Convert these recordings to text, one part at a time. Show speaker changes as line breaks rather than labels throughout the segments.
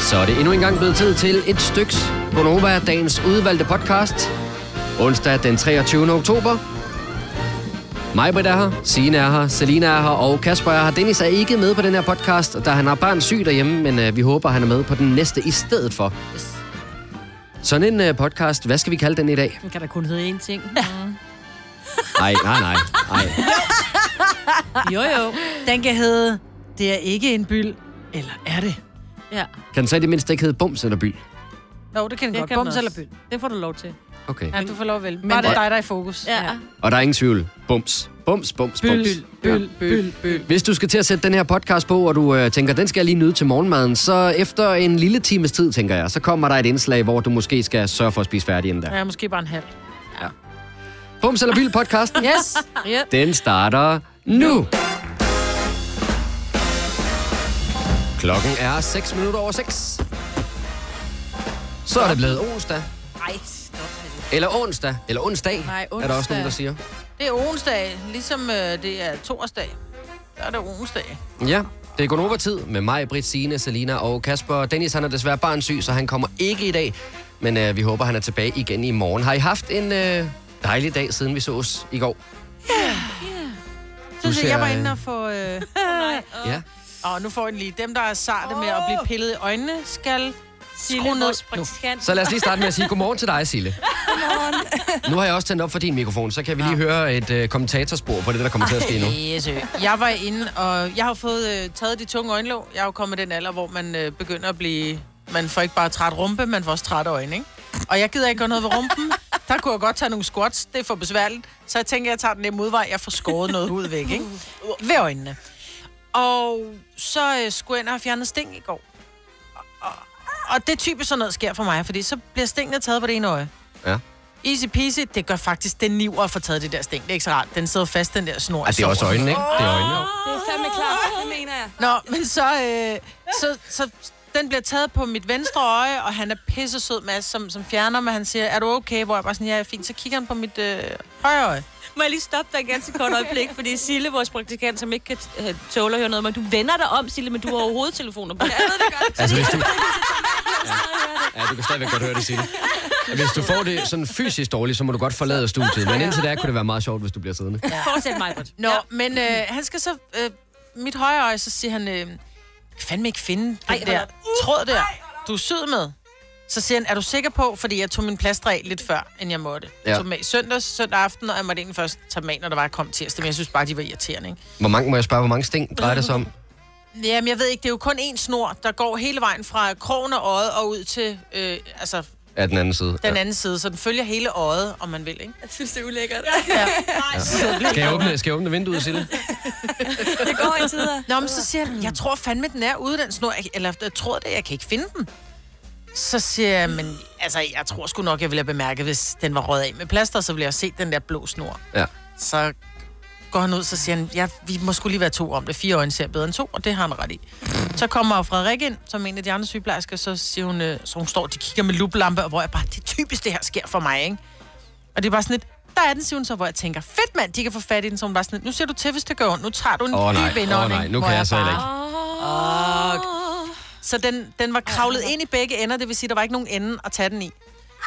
Så er det endnu en gang blevet tid til et styks Bonova, dagens udvalgte podcast. Onsdag den 23. oktober. Majbrit er her, Signe er her, Selina er her, og Kasper er her. Dennis er ikke med på den her podcast, da han har barn syg derhjemme, men øh, vi håber, han er med på den næste i stedet for. Sådan en øh, podcast, hvad skal vi kalde den i dag?
Den kan da kun hedde én ting.
Nej, nej, nej, nej.
Jo, jo. Den kan hedde, det er ikke en byld, eller er det?
Ja,
Kan den så i det mindste ikke hedde Bums eller By?
Jo, det kan den
det
godt.
kan
Bums
den
eller
også.
byld.
Det får du lov til.
Okay.
Ja, du får lov vel.
Men
Bare det er
det-
dig, der er i fokus.
Ja. ja.
Og der er ingen tvivl. Bums. Bums, bums, bums.
Byld, byld, byld, byld.
Hvis du skal til at sætte den her podcast på, og du øh, tænker, den skal jeg lige nyde til morgenmaden, så efter en lille times tid, tænker jeg, så kommer der et indslag, hvor du måske skal sørge for at spise færdig inden da.
Ja, måske bare en halv.
Bums eller Byld podcasten,
Yes. Ja.
den starter nu. Klokken er 6 minutter over 6. Så er det blevet onsdag.
Ej, stop med det.
Eller onsdag. Eller onsdag,
Nej,
er der også
onsdag.
nogen, der siger.
Det er onsdag, ligesom øh, det er torsdag. Der er det onsdag.
Ja, det er over tid med mig, Britt, Signe, Selina og Kasper. Dennis han er desværre barnsyg, så han kommer ikke i dag. Men øh, vi håber, han er tilbage igen i morgen. Har I haft en øh, dejlig dag, siden vi sås i går?
Så siger, jeg var
ser,
inde
øh,
og få... Øh,
Ja.
og nu får jeg den lige. Dem, der er sarte med at blive pillet i øjnene, skal skrue ned. Nu.
Så lad os lige starte med at sige godmorgen til dig, Sille. Godmorgen. Nu har jeg også tændt op for din mikrofon, så kan vi lige høre et øh, kommentatorspor på det, der kommer til at ske nu.
Yes, øh. jeg var inde, og jeg har fået øh, taget de tunge øjenlåg. Jeg er jo kommet i den alder, hvor man øh, begynder at blive... Man får ikke bare træt rumpe, man får også træt øjne, ikke? Og jeg gider ikke gøre noget ved rumpen. Der kunne jeg godt tage nogle squats, det er for besværligt. Så jeg tænker, jeg tager den nemme udvej, jeg får skåret noget hud væk, ikke? Ved øjnene. Og så øh, skulle jeg ind og have fjernet sting i går. Og, og, og det er typisk sådan noget, der sker for mig, fordi så bliver stingene taget på det ene øje.
Ja.
Easy peasy, det gør faktisk den niver at få taget det der sting. Det er ikke så rart. Den sidder fast, den der snor. i
Ah, det er også
såret.
øjnene, ikke? Det er øjnene.
Det er fandme klart, det mener jeg.
Nå, men så, øh, så, så den bliver taget på mit venstre øje, og han er pisse sød, Mads, som, som fjerner mig. Han siger, er du okay? Hvor jeg bare sådan, ja, jeg er fint. Så kigger han på mit øh, højre øje.
Må jeg lige stoppe dig ganske kort øjeblik, fordi Sille, vores praktikant, som ikke kan øh, tåle at høre noget, men du vender dig om, Sille, men du har overhovedet telefoner på. Ja, jeg ved det godt.
Altså, hvis du... Ja. ja, du kan stadigvæk godt høre det, Signe. Hvis du får det sådan fysisk dårligt, så må du godt forlade studiet. Men indtil da kunne det være meget sjovt, hvis du bliver siddende.
Fortsæt mig, Britt.
Nå, ja. men øh, han skal så... Øh, mit højre øje, så siger han... Øh, jeg kan fandme ikke finde den
Ej,
Ej,
hold
der
op.
tråd der. Du er syd med. Så siger han, er du sikker på, fordi jeg tog min plaster af lidt før, end jeg måtte. Ja. Jeg
Ja.
tog dem af søndags, søndag aften, og jeg måtte egentlig først tage dem af, når der var jeg kom tirsdag. Men jeg synes bare, de var irriterende, ikke?
Hvor mange, må jeg spørge, hvor mange sting drejer det sig om?
Jamen, jeg ved ikke, det er jo kun én snor, der går hele vejen fra krogen af øjet og ud til øh, altså,
Af den anden side.
den anden side, så den følger hele øjet, om man vil, ikke?
Jeg synes, det er ulækkert.
Ja. Skal, jeg åbne, skal jeg åbne vinduet, Sille?
Det går i tider.
Nå, men så siger han, jeg tror fandme, den er ude, den snor, jeg, eller jeg tror det, jeg kan ikke finde den. Så siger jeg, men altså, jeg tror sgu nok, jeg ville have bemærket, hvis den var røget af med plaster, så ville jeg have set den der blå snor.
Ja.
Så går han ud, så siger han, ja, vi må skulle lige være to om det. Fire øjne ser bedre end to, og det har han ret i. Så kommer Frederik ind, som en af de andre sygeplejersker, så siger hun, øh, så hun står, de kigger med luplampe, og hvor jeg bare, det er typisk, det her sker for mig, ikke? Og det er bare sådan lidt, der er den, siger hun så, hvor jeg tænker, fedt mand, de kan få fat i den, så hun bare sådan lidt, nu ser du til, hvis det gør ondt, nu tager du en
Åh oh, nej,
dyb
åh
indånding.
oh, nej, nu
hvor
kan jeg
jeg
så heller
bare-
ikke.
så den, den var kravlet ind i begge ender, det vil sige, der var ikke nogen ende at tage den i.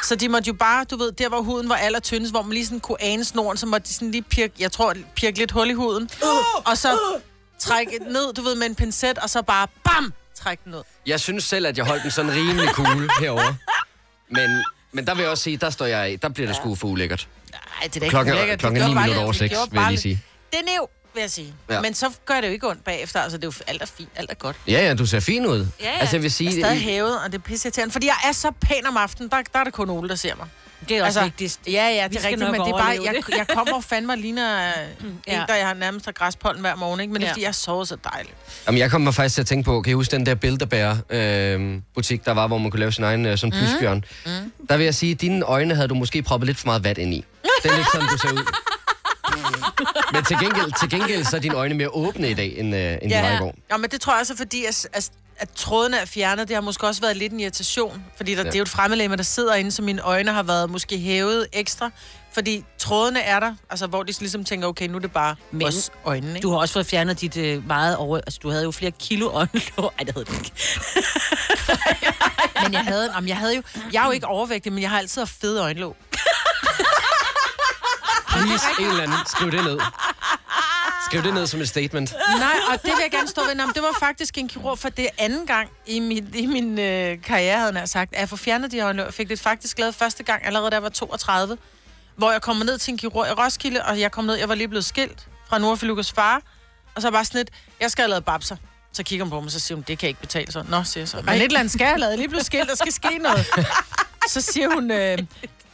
Så de måtte jo bare, du ved, der hvor huden var allertyndest, hvor man lige sådan kunne ane snoren, så måtte de sådan lige pirke, jeg tror, pirke lidt hul i huden. Og så trække den ned, du ved, med en pincet, og så bare bam, trække den ned.
Jeg synes selv, at jeg holdt den sådan rimelig cool herover. Men, men der vil jeg også sige, der står jeg af. Der bliver det sgu for ulækkert.
Ej, det er da ikke
Klokken er-
ulækkert. Det
klokken er
gjorde
ni
bare
minutter
lidt-
over
det
seks,
gjorde
vil jeg
bare
lige sige.
lidt- Det er nev, vil jeg sige.
Ja.
Ja. Men så gør det jo ikke ondt bagefter, altså det er jo alt er fint, alt er godt.
Ja, ja, du ser fin ud.
Ja, ja.
Altså, jeg vil sige,
Jeg er stadig hævet, og det er pisseirriterende, fordi jeg er så pæn om aftenen, der, der er det kun Ole, der ser mig.
Det er også altså, vigtigst.
Ja, ja, det
Vi
er
skal
rigtigt,
nok
men det er bare,
overleve
jeg, jeg kommer og fandme og ligner mm,
ja.
en, der jeg har nærmest har græspollen hver morgen, ikke? men det er
Ja.
fordi, jeg sover så dejligt.
Jamen, jeg kommer faktisk til at tænke på, kan I huske den der Bilderberg-butik, der var, hvor man kunne lave sin egen øh, sådan pysbjørn? Mm. Der vil jeg sige, at dine øjne havde du måske proppet lidt for meget vat ind i. Det er lidt sådan, du ser ud. Men til gengæld, til gengæld så er dine øjne mere åbne i dag, end, øh, end de var i går.
Nå, men det tror jeg også er fordi, at, at, at trådene er fjernet, det har måske også været lidt en irritation. Fordi der, ja. det er jo et fremmedlæme, der sidder inde, så mine øjne har været måske hævet ekstra. Fordi trådene er der, altså hvor de ligesom tænker, okay, nu er det bare Men, os øjnene. Ikke?
Du har også fået fjernet dit øh, meget over... Altså, du havde jo flere kilo øjenlåg. Ej, det havde du ikke.
Men jeg havde, jamen, jeg havde jo... Jeg er jo ikke overvægtig, men jeg har altid haft fede øjenlåg.
Please, en eller anden, skriv det ned. Skriv det ned som et statement.
Nej, og det vil jeg gerne stå ved. Nå, men det var faktisk en kirurg, for det er anden gang i min, i min øh, karriere, havde jeg nær sagt, at jeg får fjernet de øjenlåg. Jeg fik det faktisk lavet første gang, allerede da jeg var 32, hvor jeg kom ned til en kirurg i Roskilde, og jeg kom ned, jeg var lige blevet skilt fra Nordfilukas far, og så bare sådan lidt, jeg skal have lavet babser. Så kigger hun på mig, så siger hun, det kan ikke betale sig. Nå, siger jeg så. Men et eller andet skal jeg have lavet, Jeg er lige blevet skilt, der skal ske noget. Så siger hun, øh,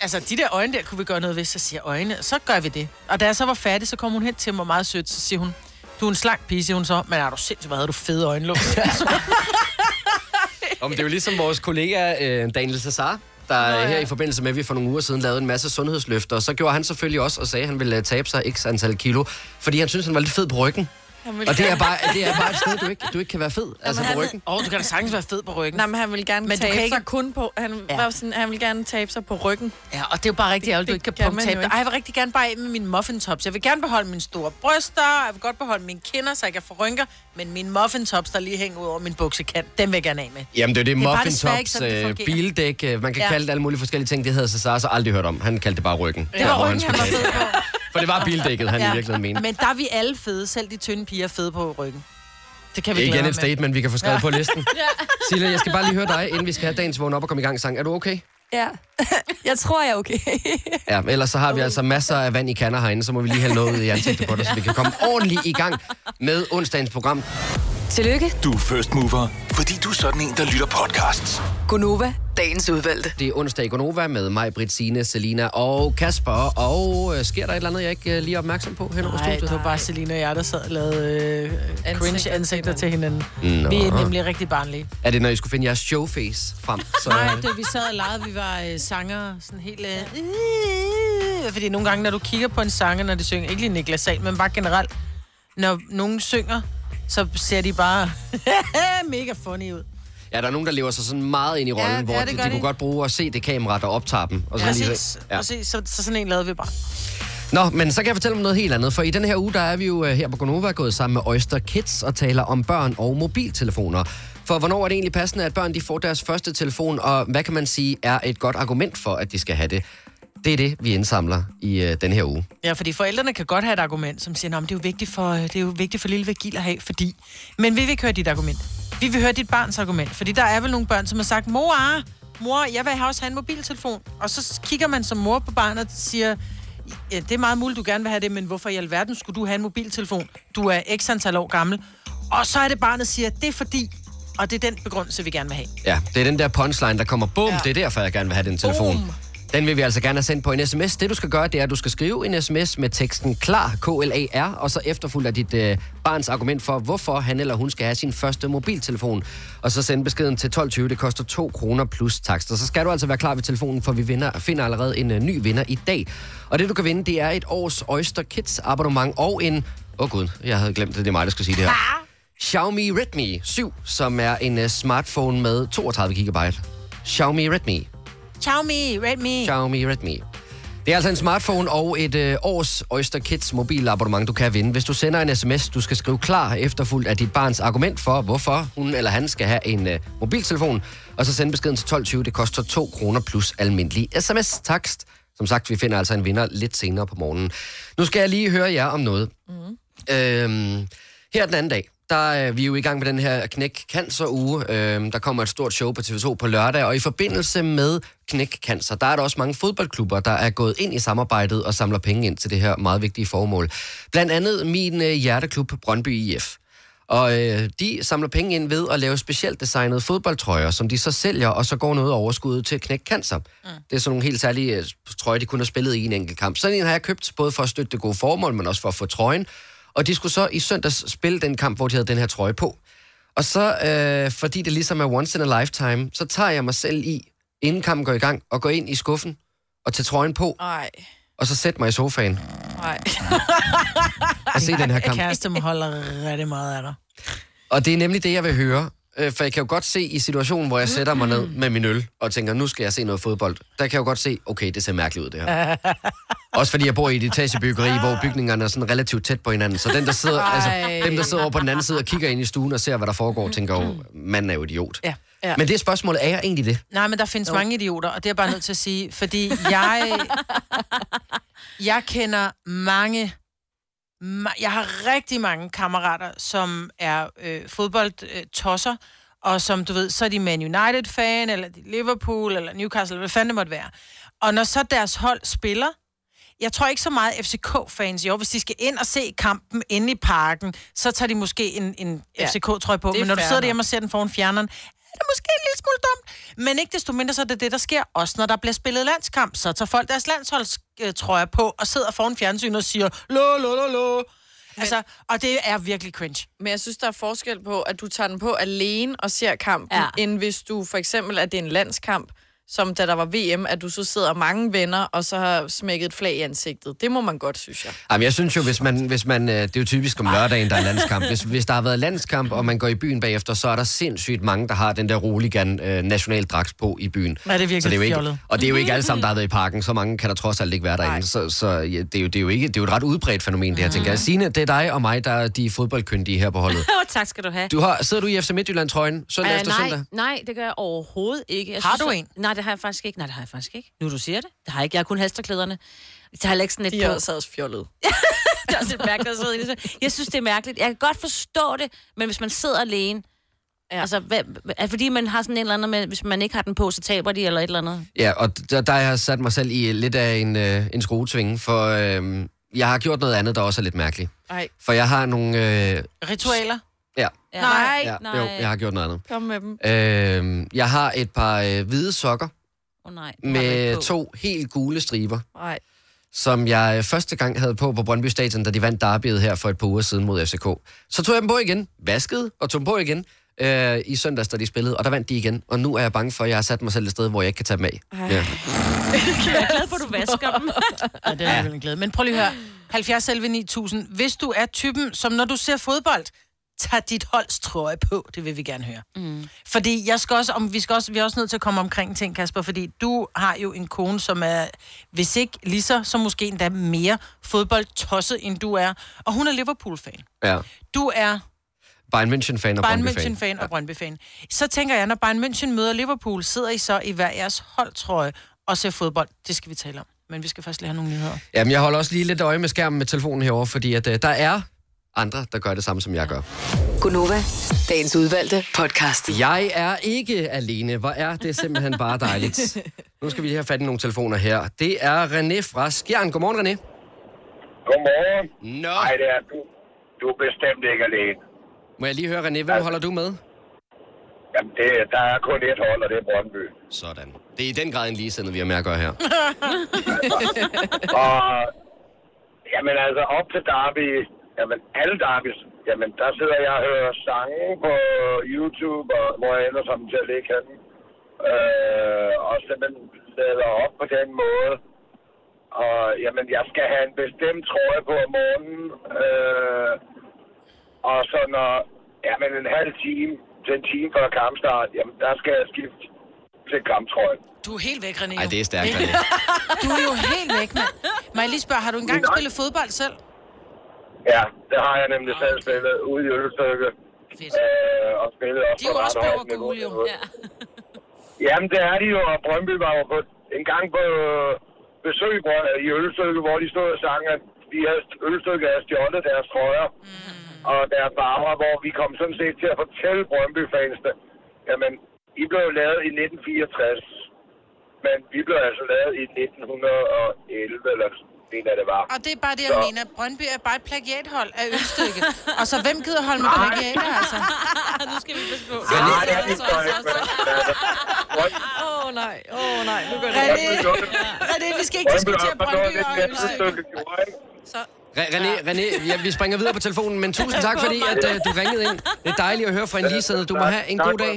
altså de der øjne der, kunne vi gøre noget ved? Så siger jeg, øjne, så gør vi det. Og da jeg så var færdig, så kom hun hen til mig meget sødt, så siger hun, du er en slank pige, siger hun så, men er du sindssygt, hvad havde du fede øjenlåg?
Altså, Om det er jo ligesom vores kollega øh, Daniel Cesar, der Nå, ja. her i forbindelse med, at vi for nogle uger siden lavede en masse sundhedsløfter, og så gjorde han selvfølgelig også og sagde, at han ville øh, tabe sig x antal kilo, fordi han synes han var lidt fed på ryggen.
Han
Og det er bare, det er bare et sted, du ikke, du ikke kan være fed, altså
han
på
er-
ryggen.
Åh, oh, du kan da sagtens være fed på ryggen.
Nej, men han ville gerne
Men
men
du
tabe
kan
ikke...
ikke-
sig kun på... Han,
Ja.
ja. var sådan, han ville gerne tabe sig på ryggen.
Ja, og det er jo bare rigtig ærgerligt, du ikke kan,
kan
kan
man jo
punktabe dig.
ikke.
Ej, jeg vil rigtig gerne bare af med mine muffintops. Jeg vil gerne beholde mine store bryster, jeg vil godt beholde mine kinder, så jeg kan få rynker, men mine muffintops, der lige hænger ud over min buksekant, dem vil jeg gerne af med.
Jamen, det er det,
Det er bare
muffin
desværre ikke
tops,
sådan, det
øh,
fungerer.
bildæk, øh, man kan
Ja.
kalde det alle mulige forskellige ting, det havde Cesar så aldrig hørt om. Han kaldte det bare ryggen.
Det var
hvor
ryggen, han var
skulle
fed
have
på.
det. For det var bildækket, han
Ja.
i virkeligheden mente.
Men der er vi alle fede, selv de tynde piger er fede på ryggen. Det kan vi
Det
glæde
er igen
ham
et
med.
statement, vi kan få skrevet ja. på listen. Sille, jeg skal bare lige høre dig, inden vi skal have dagens vågen op og komme i gang sang. Er du okay?
Ja. jeg tror, jeg er okay.
Ja, men ellers så har vi altså masser af vand i kander herinde, så må vi lige have noget ud i ansigtet på dig, så vi kan komme ordentligt i gang med onsdagens program.
Tillykke,
Du er first mover, fordi du er sådan en, der lytter podcasts.
Gunova, dagens udvalgte.
Det er onsdag i Gonova med mig, Britt, Signe, Selina og Kasper. Og øh, sker der et eller andet, jeg ikke øh, lige er opmærksom på hen over
Nej, det
studiet?
var bare Selina og jeg, der sad og lavede øh, cringe ansigter til hinanden.
Nå.
Vi er nemlig rigtig barnlige.
Er det, når I skulle finde jeres showface frem? Så,
Nej,
øh,
det, vi sad og legede, vi var øh, sanger, sådan helt... Øh, øh, fordi nogle gange, når du kigger på en sanger, når de synger, ikke lige Niklas Sahl, men bare generelt, når nogen synger, så ser de bare mega funny ud.
ja, der er nogen, der lever sig sådan meget ind i rollen,
ja,
hvor
det
de,
gør
de
de.
kunne godt bruge at se det kamera, der optager dem. Og så
Præcis,
ja.
præcis så, så sådan en lavede vi bare.
Nå, men så kan jeg fortælle om noget helt andet, for i den her uge, der er vi jo øh, her på Gonova gået sammen med Oyster Kids og taler om børn og mobiltelefoner. For hvornår er det egentlig passende, at børn de får deres første telefon, og hvad kan man sige er et godt argument for, at de skal have det? Det er det, vi indsamler i øh, den her uge.
Ja, fordi forældrene kan godt have et argument, som siger, "Nå, men det er jo vigtigt for, det er jo vigtigt for lille Virgil at have, fordi... Men vi vil ikke høre dit argument. Vi vil høre dit barns argument, fordi der er vel nogle børn, som har sagt, mor, ah, mor, jeg vil også have en mobiltelefon. Og så kigger man som mor på barnet og siger, ja, det er meget muligt, du gerne vil have det, men hvorfor i alverden skulle du have en mobiltelefon? Du er x antal år gammel. Og så er det barnet siger, det er fordi, og det er den begrundelse, vi gerne vil have.
Ja, det er den der punchline, der kommer. Bum, ja. det er derfor, jeg gerne vil have den telefon. Boom. Den vil vi altså gerne have sendt på en sms. Det, du skal gøre, det er, at du skal skrive en sms med teksten KLAR, K-L-A-R, og så efterfulgt af dit øh, barns argument for, hvorfor han eller hun skal have sin første mobiltelefon. Og så sende beskeden til 12.20. Det koster 2 kroner plus takst. Og så skal du altså være klar ved telefonen, for vi vinder, finder allerede en øh, ny vinder i dag. Og det, du kan vinde, det er et års Oyster Kids abonnement og en... Åh oh, gud, jeg havde glemt, at det er mig, der skulle sige det her. Xiaomi Redmi 7, som er en uh, smartphone med 32 GB. Xiaomi Redmi.
Xiaomi, Redmi.
Xiaomi Redmi. Det er altså en smartphone og et øh, års Oyster Kids mobilabonnement, du kan vinde. Hvis du sender en sms, du skal skrive klar efterfuldt af dit barns argument for, hvorfor hun eller han skal have en øh, mobiltelefon, og så send beskeden til 1220. Det koster 2 kroner plus almindelig sms-takst. Som sagt, vi finder altså en vinder lidt senere på morgenen. Nu skal jeg lige høre jer om noget. Øhm, her den anden dag, der er vi jo i gang med den her Knæk Cancer uge. Øhm, der kommer et stort show på TV2 på lørdag, og i forbindelse med Knæk Cancer, der er der også mange fodboldklubber, der er gået ind i samarbejdet og samler penge ind til det her meget vigtige formål. Blandt andet min øh, hjerteklub Brøndby IF. Og øh, de samler penge ind ved at lave specielt designede fodboldtrøjer, som de så sælger, og så går noget af overskuddet til at knække cancer. Mm. Det er sådan nogle helt særlige øh, trøjer, de kun har spillet i en enkelt kamp. Sådan en har jeg købt, både for at støtte det gode formål, men også for at få trøjen. Og de skulle så i søndags spille den kamp, hvor de havde den her trøje på. Og så, øh, fordi det ligesom er once in a lifetime, så tager jeg mig selv i, inden kampen går i gang, og går ind i skuffen og tager trøjen på,
Nej,
og så sætter mig i sofaen
nej.
og se den her kamp.
Kæreste holder rigtig meget af dig.
Og det er nemlig det, jeg vil høre. øh, for jeg kan jo godt se i situationen, hvor jeg sætter mig ned med min øl og tænker, nu skal jeg se noget fodbold. Der kan jeg jo godt se, okay, det ser mærkeligt ud det her. Også fordi jeg bor i et etagebyggeri, hvor bygningerne er sådan relativt tæt på hinanden. Så den, der sidder, altså, dem, der sidder over på den anden side og kigger ind i stuen og ser, hvad der foregår, tænker jo, manden er jo idiot.
Ja.
Ja. Men det er spørgsmålet, er jeg egentlig det?
Nej, men der findes mange idioter, og det er jeg bare nødt til at sige, fordi jeg, jeg kender mange, ma- jeg har rigtig mange kammerater, som er øh, fodboldtosser, og som du ved, så er de Man United-fan, eller de er Liverpool, eller Newcastle, eller hvad fanden det måtte være. Og når så deres hold spiller, jeg tror ikke så meget FCK-fans i år. Hvis de skal ind og se kampen inde i parken, så tager de måske en, en
Ja,
ja, FCK-trøje på.
det er
Men når du
fair
sidder
nok.
derhjemme og ser den foran fjerneren, er det måske en lille smule dumt. Men ikke desto mindre, så er det det, der sker. Også når der bliver spillet landskamp, så tager folk deres landsholdstrøje på og sidder foran fjernsynet og siger, lo, lo, lo, lo. Altså, og det er virkelig cringe.
Men jeg synes, der er forskel på, at du tager den på alene og ser kampen,
Ja.
ja. end hvis du for eksempel, at det er en landskamp, som da der var VM, at du så sidder mange venner, og så har smækket et flag i ansigtet. Det må man godt, synes jeg.
Jamen, jeg synes jo, hvis man, hvis man, øh, det er jo typisk om lørdagen, der er landskamp. Hvis, hvis der har været landskamp, og man går i byen bagefter, så er der sindssygt mange, der har den der roligan øh, nationaldragt på i byen.
Ja, det er virkelig
så det er jo ikke,
fjollet.
Og det er jo ikke alle sammen, der har været i parken. Så mange kan der trods alt ikke være derinde. Så, så ja, det, er jo, det, er jo ikke, det er jo et ret udbredt fænomen,
Mm.
det her, tænker jeg. Signe, det er dig og mig, der er de fodboldkyndige her på holdet.
Åh, tak skal du have.
Du har, sidder du i FC Midtjylland-trøjen søndag
Øh,
efter
nej,
søndag?
nej, det gør jeg overhovedet ikke. Jeg
Har du
at-
en?
Nej, det har jeg faktisk ikke. Nej, det har jeg faktisk ikke. Nu du siger det. Det har jeg ikke. Jeg har kun halsterklæderne. Jeg har heller ikke sådan et
De
på.
er også også fjollet.
Det er også lidt mærkeligt at sidde inde i sådan- Jeg synes, det er mærkeligt. Jeg kan godt forstå det, men hvis man sidder alene, ja. altså, hvad, er fordi man har sådan en eller anden med, hvis man ikke har den på, så taber de eller et eller andet.
Ja, og der, der har jeg sat mig selv i lidt af en, øh, en skruetvinge, for øh, jeg har gjort noget andet, der også er lidt mærkeligt.
Ej.
For jeg har nogle... Øh,
Ritualer.
ja,
Ja.
Nej.
ja,
nej.
jo, jeg har gjort noget andet.
Kom med dem.
Øh, jeg har et par øh, hvide sokker
Oh, nej. den har man ikke
med
på.
to helt gule striber,
Nej.
som jeg øh, første gang havde på på Brøndby Stadion, da de vandt derbyet her for et par uger siden mod FCK. Så tog jeg dem på igen, vaskede og tog dem på igen øh, i søndags, da de spillede, og der vandt de igen. Og nu er jeg bange for, at jeg har sat mig selv et sted, hvor jeg ikke kan tage dem af. Ja.
Jeg er glad for, at du vasker dem.
Ja, det er vel en glæde. Men prøv lige at høre. 70 selv 9000. Hvis du er typen, som når du ser fodbold, tager dit holds trøje på. Det vil vi gerne høre. Mm. Fordi jeg skal også, om, vi, skal også, vi er også nødt til at komme omkring ting, Kasper, fordi du har jo en kone, som er, hvis ikke lige så, så måske endda mere fodboldtosset, end du er. Og hun er Liverpool-fan.
ja.
Du er
Bayern München-fan og
Bayern
Brøndby-fan.
München-fan og Brøndby-fan. Så tænker jeg, når Bayern München møder Liverpool, sidder I så i hver jeres holdtrøje og ser fodbold. Det skal vi tale om. Men vi skal først lige have nogle nyheder.
Jamen, jeg holder også lige lidt øje med skærmen med telefonen herover, fordi at, øh, der er andre, der gør det samme, som jeg gør.
Gunova, dagens udvalgte podcast.
Jeg er ikke alene. Hvor er det simpelthen bare dejligt. Nu skal vi lige have fat i nogle telefoner her. Det er René fra Skjern. Godmorgen, René.
Godmorgen.
Nå,
Nej, det er du. Du er bestemt ikke alene.
må jeg lige høre, René, hvem holder du med?
Jamen, det, der er kun et hold, og det er Brøndby.
Sådan. Det er i den grad en ligesindet, vi har med at gøre her.
Og, jamen altså, op til Derby, jamen alle Derbys, jamen der sidder jeg og hører sange på YouTube, og hvor jeg ender sammen til at ligge henne. Øh, og simpelthen sætter op på den måde. Og jamen, jeg skal have en bestemt trøje på om morgenen. Øh, og så når, jamen en halv time til en time før kampstart, jamen der skal jeg skifte til kamptrøjen.
Du er helt væk, René.
Ej, det er stærkt,
Ikke?
René.
Du er jo helt væk, mand. Må jeg lige spørge, har du engang
Nej.
spillet fodbold selv?
Ja, det har jeg nemlig selv spillet ude i Ølstykke.
Fedt.
Øh, og spillet også
De er jo
på ret
også
højt
blå og
niveau.
gule, jo.
Ja.
Jamen, det er de jo, og Brøndby var jo på, en gang på øh, besøg i Brøn- i Ølstykke, hvor de stod og sang, at de havde, Ølstykke havde stjålet deres trøjer
Mm.
og deres farver, hvor vi kom sådan set til at fortælle Brøndby-fansene, jamen, I blev jo lavet i 1964, men vi blev altså lavet i 1911, eller det, det var.
Og det er bare det, jeg
Så.
mener. Brøndby er bare et plagiathold af Ølstykke. Og så hvem gider holde med plagiater, altså?
nu skal vi passe på.
Nej, det er de så ikke, men altså, Brøndby-
Åh oh, nej, åh oh, nej. Nu gør det.
René,
Brøndby gjorde det.
René, vi skal ikke
Brøndby
diskutere
har forstået
Brøndby
lidt
og
mere
Ølstykke.
stykke gjorde, ikke?
Re- René, René ja, vi springer videre på telefonen, men tusind tak, fordi at, øh, du ringede ind. Det er dejligt at høre fra en ligesindet. Du må have en god dag.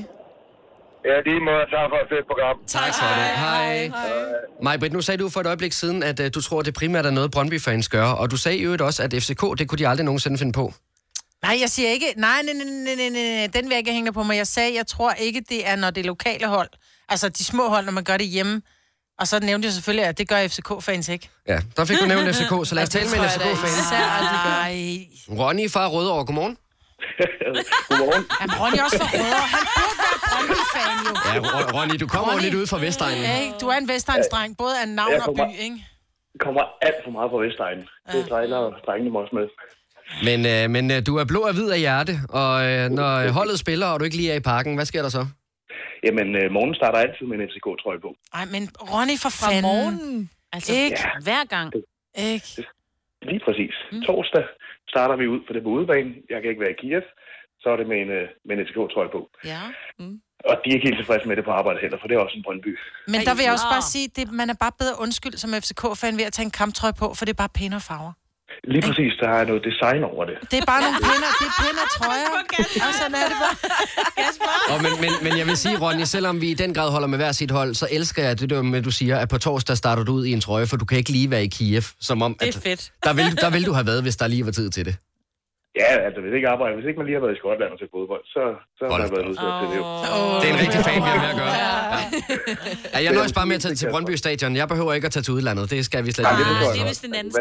Ja, lige måde. Tak for et fedt program.
Tak for det. Hej. Maj Britt, nu sagde du for et øjeblik siden, at øh, du tror, det primært er noget, Brøndby-fans gør. Og du sagde i øvrigt også, at FCK, det kunne de aldrig nogensinde finde på.
Nej, jeg siger ikke, nej, nej, nej, nej, nej, nej, nej, den vil jeg ikke hænge på mig. Jeg sagde, jeg tror ikke, det er, når det er lokale hold. Altså de små hold, når man gør det hjemme. Og så nævnte jeg selvfølgelig, at det gør FCK-fans ikke.
Ja, der fik du nævnt FCK, så lad os tale med en FCK-fan.
Nej.
Ronny fra Rødovre, godmorgen.
Godmorgen.
Jamen, Ronny er også for rødder. Han burde være Brøndby-fan jo.
Ja, Ro- Ronny, du kommer jo
Ronny.
lidt ud fra Vestegnen.
Ja, ikke? Du er en vestegnsdreng, både af navn
Jeg
og
kommer-
by, ikke?
Kommer alt for meget fra Vestegnen. Det sejler drengene mig også med.
Men, øh, men øh, du er blå og hvid af hjerte, og øh, når øh, holdet spiller, og du ikke lige er i parken, hvad sker der så?
Jamen, øh, morgen starter altid med en FCK-trøje på.
Ej, men Ronny for
Fra
fanden.
morgenen.
Altså,
Ikke?
hver gang.
Ikke?
Lige præcis. Mm. Torsdag starter vi ud, for det er på udebane. Jeg kan ikke være i Kiev. Så er det med en, øh, med en FCK-trøje på.
Ja.
Og de er ikke helt tilfredse med det på arbejde heller, for det er også en Brøndby.
Men der vil jeg også
Nå.
bare sige, at man er bare bedre undskyld som FCK-fan ved at tage en kamptrøje på, for det er bare pænere farver.
Lige præcis, der er noget design over det.
Det er bare nogle pænere, det er pænere trøjer. Og sådan er det bare.
Og, men, men, men jeg vil sige, Ronny, selvom vi i den grad holder med hver sit hold, så elsker jeg det der med, at du siger, at på torsdag starter du ud i en trøje, for du kan ikke lige være i Kiev, som om,
Det
at
er fedt.
der vil, der vil du have været, hvis der lige var tid til det.
Ja, altså hvis ikke arbejder, hvis ikke man lige har været i Skotland og til fodbold, så, så har
Hold
man været nødt til at det.
Det er en rigtig fan, vi har med at gøre. Ja. Ja, jeg nøjes bare med at tage til Brøndby Stadion. Jeg behøver ikke at tage til udlandet. Det skal vi slet
det
ikke.
forstår jeg. det er vist en anden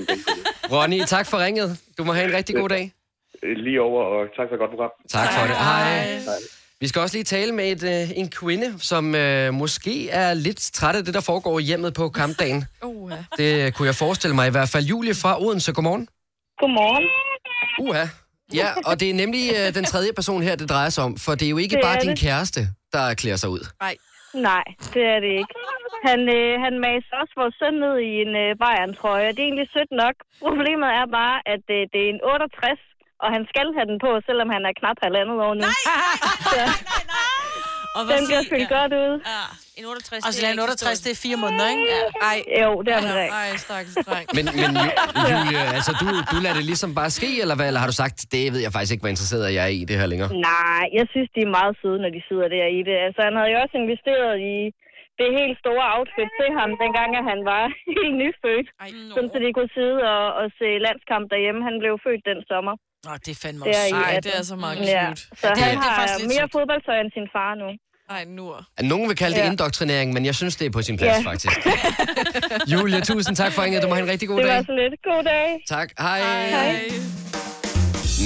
snak,
Ronny, tak for ringet. Du må have en rigtig god dag.
Lige over, og tak for et godt program.
Tak for det. Hej. Vi skal også lige tale med et, øh, en kvinde, som øh, måske er lidt træt af det, der foregår i hjemmet på kampdagen.
Uh,
Det kunne jeg forestille mig i hvert fald. Julie fra Odense, godmorgen.
Godmorgen.
Uha. Ja, og det er nemlig øh, den tredje person her, det drejer sig om, for det er jo ikke
Det
bare
er
din
det.
kæreste, der klæder sig ud.
Nej, det er det ikke. Han, øh, han maser også vores søn ned i en øh, Bayern-trøje, og det er egentlig sødt nok. Problemet er bare, at øh, det er en 68, og han skal have den på, selvom han er knap halvandet år nu. Nej,
Og
den bliver
siger-
fyldt godt ud.
Ja, en 68.
Og så
det
en
er
68,
ikke
det er fire måneder, ikke?
ej,
Jo, det er man da ikke.
ej, stakkels dreng.
Men, men Ju- Julie, altså du, du lader det ligesom bare ske, eller hvad? Eller har du sagt, det ved jeg faktisk ikke, hvor interesseret jeg er i det her længere?
Nej, jeg synes, de er meget søde, når de sidder der i det. Altså, han havde jo også investeret i det helt store outfit til ham, dengang at han var helt nyfødt.
Ej,
Sådan, så de kunne sidde og, og se landskamp derhjem. Han blev født den sommer.
Nå, det er fandme
Det
også
er i
sødt.
ej,
at-
det er så meget
Ja,
cute.
så
det-
han
det er
har
faktisk lidt
mere
sødt.
fodboldtøj end sin far nu.
Ej, nur.
Nogen vil kalde det
Ja.
indoktrinering, men jeg synes, det er på sin plads,
Ja.
faktisk. Julie, tusind tak for ringet. Du må have en rigtig god
Det var
dag.
så lidt. God dag.
Tak. Hej. Hej.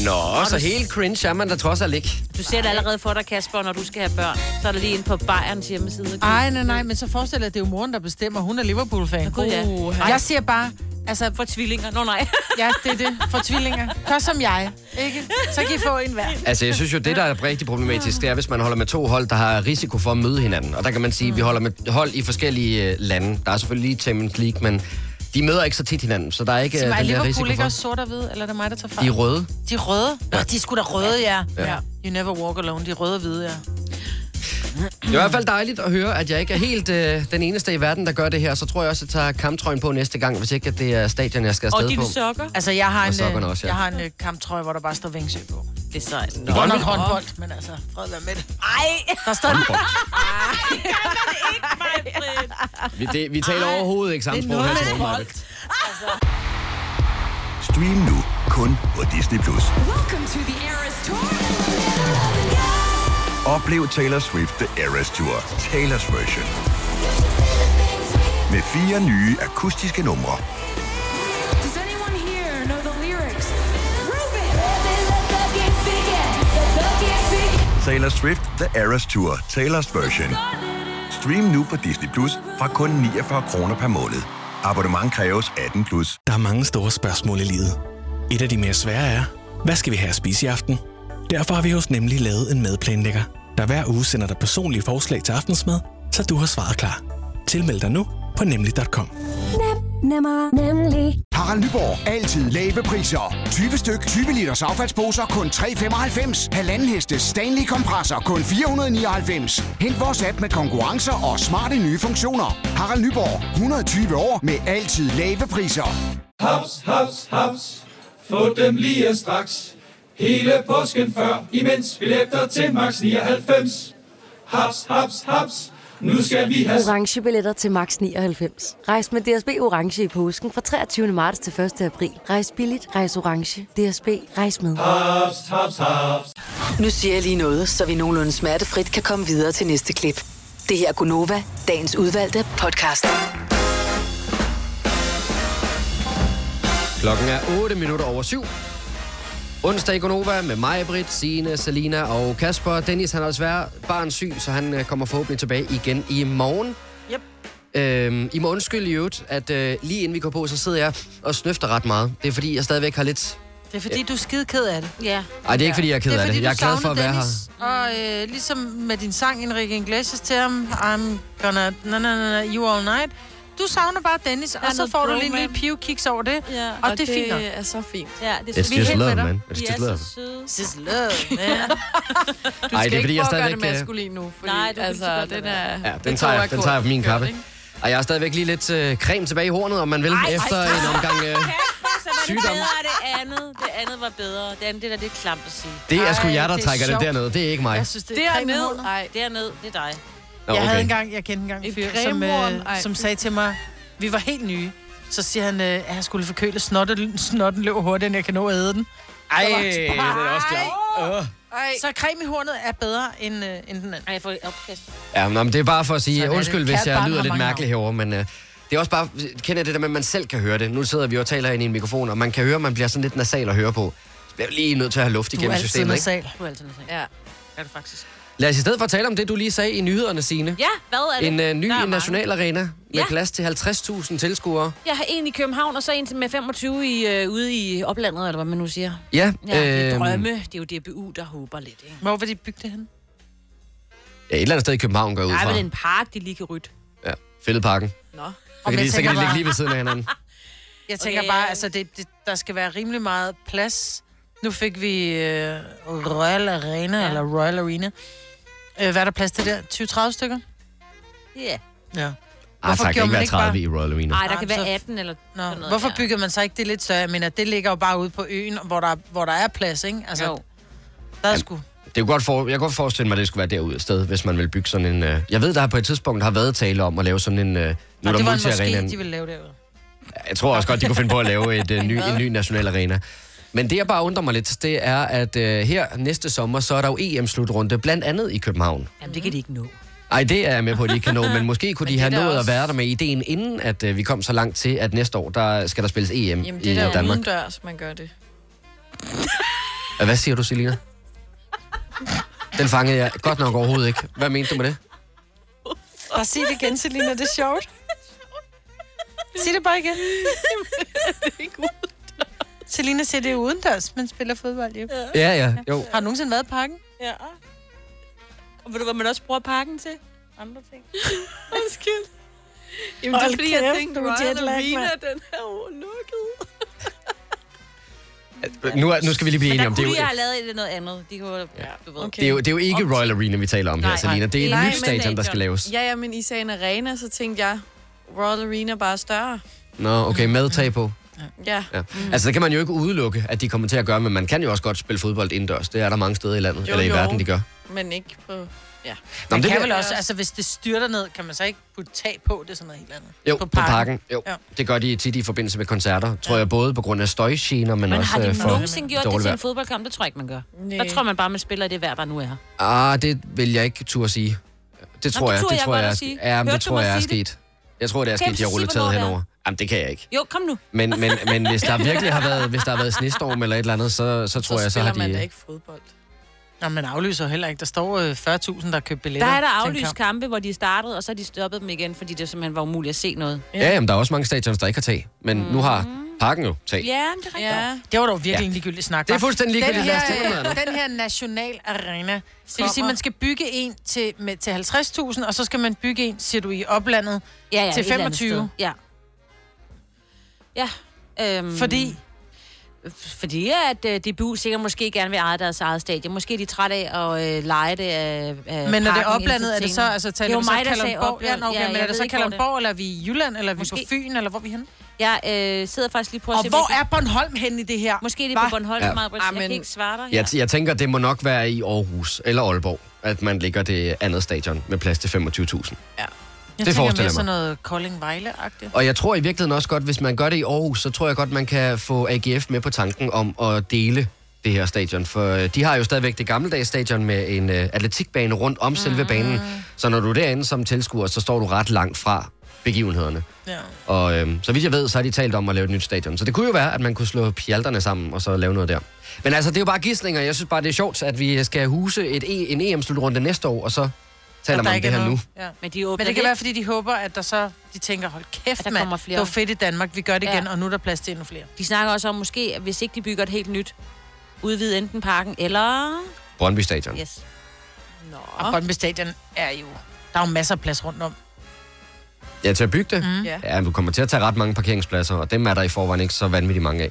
Nå, så helt cringe er man da trods alt ikke.
Du ser det allerede for dig, Kasper, når du skal have børn. Så er der lige inde på Bayerns hjemmeside. ikke?
Ej, nej, nej, men så forestil dig, at det er jo moren, der bestemmer. Hun er Liverpool-fan.
Gud, ja.
Uh, jeg siger bare, altså,
For tvillinger. Nå nej.
ja, det er det. For tvillinger. Gør som jeg, ikke? Så kan I få en hver.
Altså, jeg synes jo, det, der er rigtig problematisk, det er, hvis man holder med to hold, der har risiko for at møde hinanden. Og der kan man sige, at vi holder med hold i forskellige øh, lande. Der er selvfølgelig lige Champions League, men de møder ikke så tit hinanden, så der er ikke øh,
Sig mig, er
den der risiko
Liverpool ikke
for.
også sort og hvid, eller er det mig, der tager fejl?
De er røde.
De er røde. Nå, de er sgu da røde, ja. ja. You never walk alone. De er røde og hvide, ja.
Det er i hvert fald dejligt at høre, at jeg ikke er helt øh, den eneste i verden, der gør det her. Så tror jeg også, at jeg tager kamptrøjen på næste gang, hvis ikke at det er stadion, jeg skal
Og
afsted på.
dine sokker.
Altså, jeg har
Og
en,
sokkerne
øh,
også, ja.
jeg har en øh, kamptrøje, hvor der bare står Vingsø på.
Det er sejt.
I Brøndby?
Under håndbold, men altså, fred være med det.
Ej,
Der står
Vi, det, vi taler overhovedet ikke samme
Det er
sprog her
noget
til
med
morgen.
Altså,
Stream nu kun på Disney+. Plus. Oplev Taylor Swift The Eras Tour, Taylor's version. Med fire nye akustiske numre. Taylor Swift The Eras Tour, Taylor's version. Stream nu på Disney Plus fra kun 49 kroner per måned. Abonnement kræves 18 plus.
Der er mange store spørgsmål i livet. Et af de mere svære er, hvad skal vi have at spise i aften? Derfor har vi hos Nemlig lavet en madplanlægger, der hver uge sender dig personlige forslag til aftensmad, så du har svaret klar. Tilmeld dig nu på nemlig.com.
Nemmer, nemlig.
Harald Nyborg. Altid lave priser. 20 styk, 20 liters affaldsposer kun 3,95. Halvanden heste Stanley kompresser kun 499. Hent vores app med konkurrencer og smarte nye funktioner. Harald Nyborg. 120 år med altid lave priser.
Haps, haps, haps. Få dem lige straks. Hele påsken før, imens vi læfter til max 99. Haps, haps, haps.
Nu skal vi have...
orange billetter til max 99. Rejs med DSB orange i påsken fra 23. marts til 1. april. Rejs billigt, rejs orange. DSB rejs med.
Hops, hops, hops.
Nu siger jeg lige noget, så vi nogenlunde smertefrit kan komme videre til næste klip. Det her er Gunova, dagens udvalgte
Ah,
podcast.
Klokken er 8 minutter over 7. Onsdag i Gonova med mig, Britt, Signe, Selina og Kasper. Dennis han er desværre barn syg, så han øh, kommer forhåbentlig tilbage igen i morgen.
Yep.
Øhm, I må undskylde i øvrigt, at øh, lige inden vi går på, så sidder jeg og snøfter ret meget. Det er fordi, jeg stadigvæk har lidt...
Det er fordi, du er skide ked af det.
Ja.
Ej, det er ikke, fordi jeg er ked
det er,
af det.
fordi,
Jeg er
du
glad for
savner
at være
Dennis, Og øh, ligesom med din sang, Enrique Iglesias, til ham, I'm gonna, na, na, na, na, you all night. Du savner bare Dennis, og så
noget
får du
bro,
lige en lille
man.
pivkiks over det.
Ja,
og, det er fint nok.
er så fint.
Ja,
det er It's så- vi er just helt love, med dig. man. It's just love.
It's just love, man.
Du skal
Ej, det er
ikke
fordi, jeg
prøve at gøre det
stadigvæk, øh,
maskulin nu, fordi
Nej, du kan lige så
altså,
godt
den
lade
er...
Ja, den tager, jeg, den tager jeg på min kappe. Og jeg har stadigvæk lige lidt øh, creme tilbage i hornet, om man vil,
Ej,
ej,
ej,
efter
ej.
en omgang... Øh,
Så var det
Sygdom.
bedre, og det andet. Det andet var bedre. Det andet, det der, det er klamt at sige.
det er sgu
Ej,
jer, der
det er
trækker det
sjovt.
dernede. Det er ikke mig.
det er creme i hånden.
Nej, derned, det er dig.
Nå,
Jeg havde
okay.
engang, jeg kendte engang en fyr, som,
cremehorn. Ej,
øh, som
fy.
sagde til mig, vi var helt nye. Så siger han, øh, at han skulle forkøle snotten, snotten løb hurtigere, end jeg kan nå at æde den.
Ej,
Så var jeg
det
sådan,
er også klart. Øh.
"Ej." Så creme i hornet er bedre end, øh, end den anden.
Ej, jeg får opkast.
Ja, men det er bare for at sige,
Sådan er det.
undskyld, hvis
Kært
jeg
barn
lyder
har
lidt
mange
mærkelig herovre, men øh, det er også bare, kender jeg det der med, at man selv kan høre det. Nu sidder vi og taler ind i en mikrofon, og man kan høre, at man bliver sådan lidt nasal at høre på. Så bliver jeg lige nødt til at have luft
Du er
igennem
altid
systemet, ikke?
nasal.
Du er altid nasal.
Ja.
Er det faktisk?
Lad os i stedet for tale om det, du lige sagde i nyhederne, Signe.
Ja, hvad er det?
En øh, ny
Der er mange.
national arena med
Ja.
plads til 50.000 tilskuere.
Jeg har en i København, og så en til- med 25 i, øh, ude i oplandet, eller hvad man nu siger.
Ja,
ja det er
øhm,
drømme. Det er jo DBU, der håber lidt, ikke?
Hvor vil de bygge det hen?
Ja, et eller andet sted i København går jeg ud
Nej, men det er
fra.
en park, de lige kan rydde.
Ja, Fældeparken.
Nå.
Så kan, de, så kan de ligge lige ved siden af hinanden.
Jeg tænker okay. bare, altså, det, det, der skal være rimelig meget plads. Nu fik vi øh, Royal Arena, ja. eller Royal Arena. Øh, hvad er der plads til der? 20-30 stykker?
Ja.
Ja.
Ej,
Hvorfor
tak,
gjorde
ikke
man
være
ikke bare-
30 i Royal Arena.
Nej, der
Jamen,
kan være
så-
18 eller
Nå,
sådan noget.
hvorfor
ja.
bygger man så ikke det lidt større? Jeg mener, det ligger jo bare ude på øen, hvor der, hvor der er plads, ikke? Altså, jo. Der er sgu...
Det er jo godt for, jeg kan godt forestille mig, at det skulle være derude et sted, hvis man vil bygge sådan en... Øh, jeg ved, der har på et tidspunkt har været tale om at lave sådan en... Øh, nu er
Nå,
der
det var en
multiarena.
måske, de ville lave derude.
Jeg tror også godt, de kunne finde på at lave et, øh, ny, en ny national arena. Men det, jeg bare undrer mig lidt, det er, at øh, her næste sommer, så er der jo EM-slutrunde, blandt andet i København.
Jamen, det kan de ikke nå.
Ej, det er jeg med på, at de ikke kan nå, men måske kunne de have
det er da
nået at
også-
være der med ideen, inden at øh, vi kom så langt til, at næste år, der skal der spilles EM
Jamen,
i
det er
øh,
da
Danmark.
udendørs, man gør det.
Hvad siger du, Selina? Den fangede jeg godt nok overhovedet ikke. Hvad mente du med det?
Bare sig det igen, Selina, det er sjovt. Sig det bare igen. Selina siger, det er udendørs, men spiller fodbold, jo.
Ja, ja, jo.
Har du nogensinde været i parken?
Ja. Og ved du, hvad man også bruger parken til? Andre ting. Undskyld.
Jamen, det er fordi, jeg tænkte, Royal Arena, den er jo lukket.
Øh, Nu, er, nu skal vi lige blive
Men
enige
der
om
kunne
det. er
de
jo-
jo... have lavet et- noget andet. De kunne, ja. du ved.
Okay. Det, er jo, det er jo ikke Royal Arena, vi taler om her,
Nej, nej.
Selina. Det er et nyt
Nej, men-
stadion, der skal laves.
Ja, ja, men I sagde en arena, så tænkte jeg, Royal Arena bare er større.
Nå, okay, med tag på.
Ja.
Ja.
Mm.
Altså, det kan man jo ikke udelukke, at de kommer til at gøre, men man kan jo også godt spille fodbold indendørs. Det er der mange steder i landet,
Jo,
eller i
jo.
verden, de gør.
Men ikke på... Ja.
Nå, men
Man
det
det kan
bliver-
vel også, altså hvis det styrter ned, kan man så ikke putte tag på, det er sådan noget helt andet.
Jo, på parken. På parken. Jo,
Ja.
det gør de tit i forbindelse med koncerter. Tror jeg både på grund af støjgener, men,
Men
også
har
øh,
de
for
nogensinde gjort det
dårligt
til
vejr.
en fodboldkamp? Det tror jeg ikke, man gør. Der tror man bare, man spiller i det vejr, der nu er.
Ah, det vil jeg ikke turde sige. Det
Nå,
tror
det
jeg,
turde
det
jeg
tror
godt
jeg,
at
er
sige.
sk- ja, men
Hørte
det
du
tror
mig
jeg er
sige det?
sket. Jeg tror, det er sket,
Kan du
de har
sige,
rullet
hvornår
taget
det er?
henover. Jamen, det kan jeg ikke.
Jo, kom nu.
Men, men, men hvis der virkelig har været, hvis der har været snestorm eller et eller andet, så, så tror jeg, så har de...
fodbold.
Nå, man aflyser heller ikke. Der står øh, 40.000, der har købt
Der
billetter.
er der
til en
aflyst
kamp.
kampe, hvor de startede, og så har de stoppet dem igen, fordi det simpelthen var umuligt at se noget.
Ja, jamen, der er også mange stadions, der ikke har tag. Men nu har parken jo tag.
Ja, det er rigtigt. Ja.
Det var dog virkelig ja. en ligegyldig snak.
Det er
hva'?
fuldstændig ligegyldigt.
Den
Lad os tale om
her,
noget
øh, den her national arena, det vil sige, at man skal bygge en til, med, til 50.000, og så skal man bygge en, siger du, i oplandet
Ja, ja,
til
et eller andet sted.
25.
Ja. Ja. Øhm,
Fordi?
Fordi at øh, DBU sikkert måske gerne vil eje deres eget stadie. Måske er de trætte af at øh, lege det af, af
Men når det
parken
er oplandet,
indtil
er det så,
scenen.
altså,
Det
taler
var
vi så
mig, der sagde
Kalundborg? Ja,
oplandet.
nå, okay, men
jeg
er det
ved
så
ikke, hvor
Kalundborg, eller er vi i Jylland, eller er vi
Måske.
på Fyn, eller hvor er vi henne?
Jeg øh, sidder faktisk lige på at
Og
se,
hvor
hvilken-
er Bornholm henne i det her?
Måske er det på
Hva?
Bornholm,
Ja.
ja. Maja, jeg kan ikke svare dig.
Jeg, t- jeg tænker, det må nok være i Aarhus eller Aalborg, at man ligger det andet stadion med plads til 25.000.
Ja.
Det forestiller jeg mig.
sådan noget Kolding Vejle-agtigt.
Og jeg tror i virkeligheden også godt, hvis man gør det i Aarhus, så tror jeg godt, man kan få AGF med på tanken om at dele det her stadion. For øh, de har jo stadigvæk det gammeldags stadion med en øh, atletikbane rundt om selve
Ah.
banen. Så når du er derinde som tilskuer, så står du ret langt fra begivenhederne.
Ja.
Og øh, så vidt jeg ved, så har de talt om at lave et nyt stadion. Så det kunne jo være, at man kunne slå pjalterne sammen og så lave noget der. Men altså, det er jo bare gidslinger. Jeg synes bare, det er sjovt, at vi skal huse et e- en EM-slutrunde næste år, og så taler
Og
man
der
om
ikke
det
er
her nu.
noget. Ja.
Men, de
Men det kan være, fordi de håber, at der så, de tænker, hold kæft, der mand,
kommer flere.
det var fedt i Danmark, vi gør det
Ja.
igen, og nu er der plads til endnu flere.
De snakker også om, måske, at hvis ikke de bygger et helt nyt, udvide enten parken eller...
Brøndby Stadion.
Yes.
Nå. Og Brøndby Stadion er jo, der er jo masser af plads rundt om.
Ja, til at bygge det?
Mm. Ja.
Ja. ja, du kommer til at tage ret mange parkeringspladser, og dem er der i forvejen ikke så vanvittigt mange af.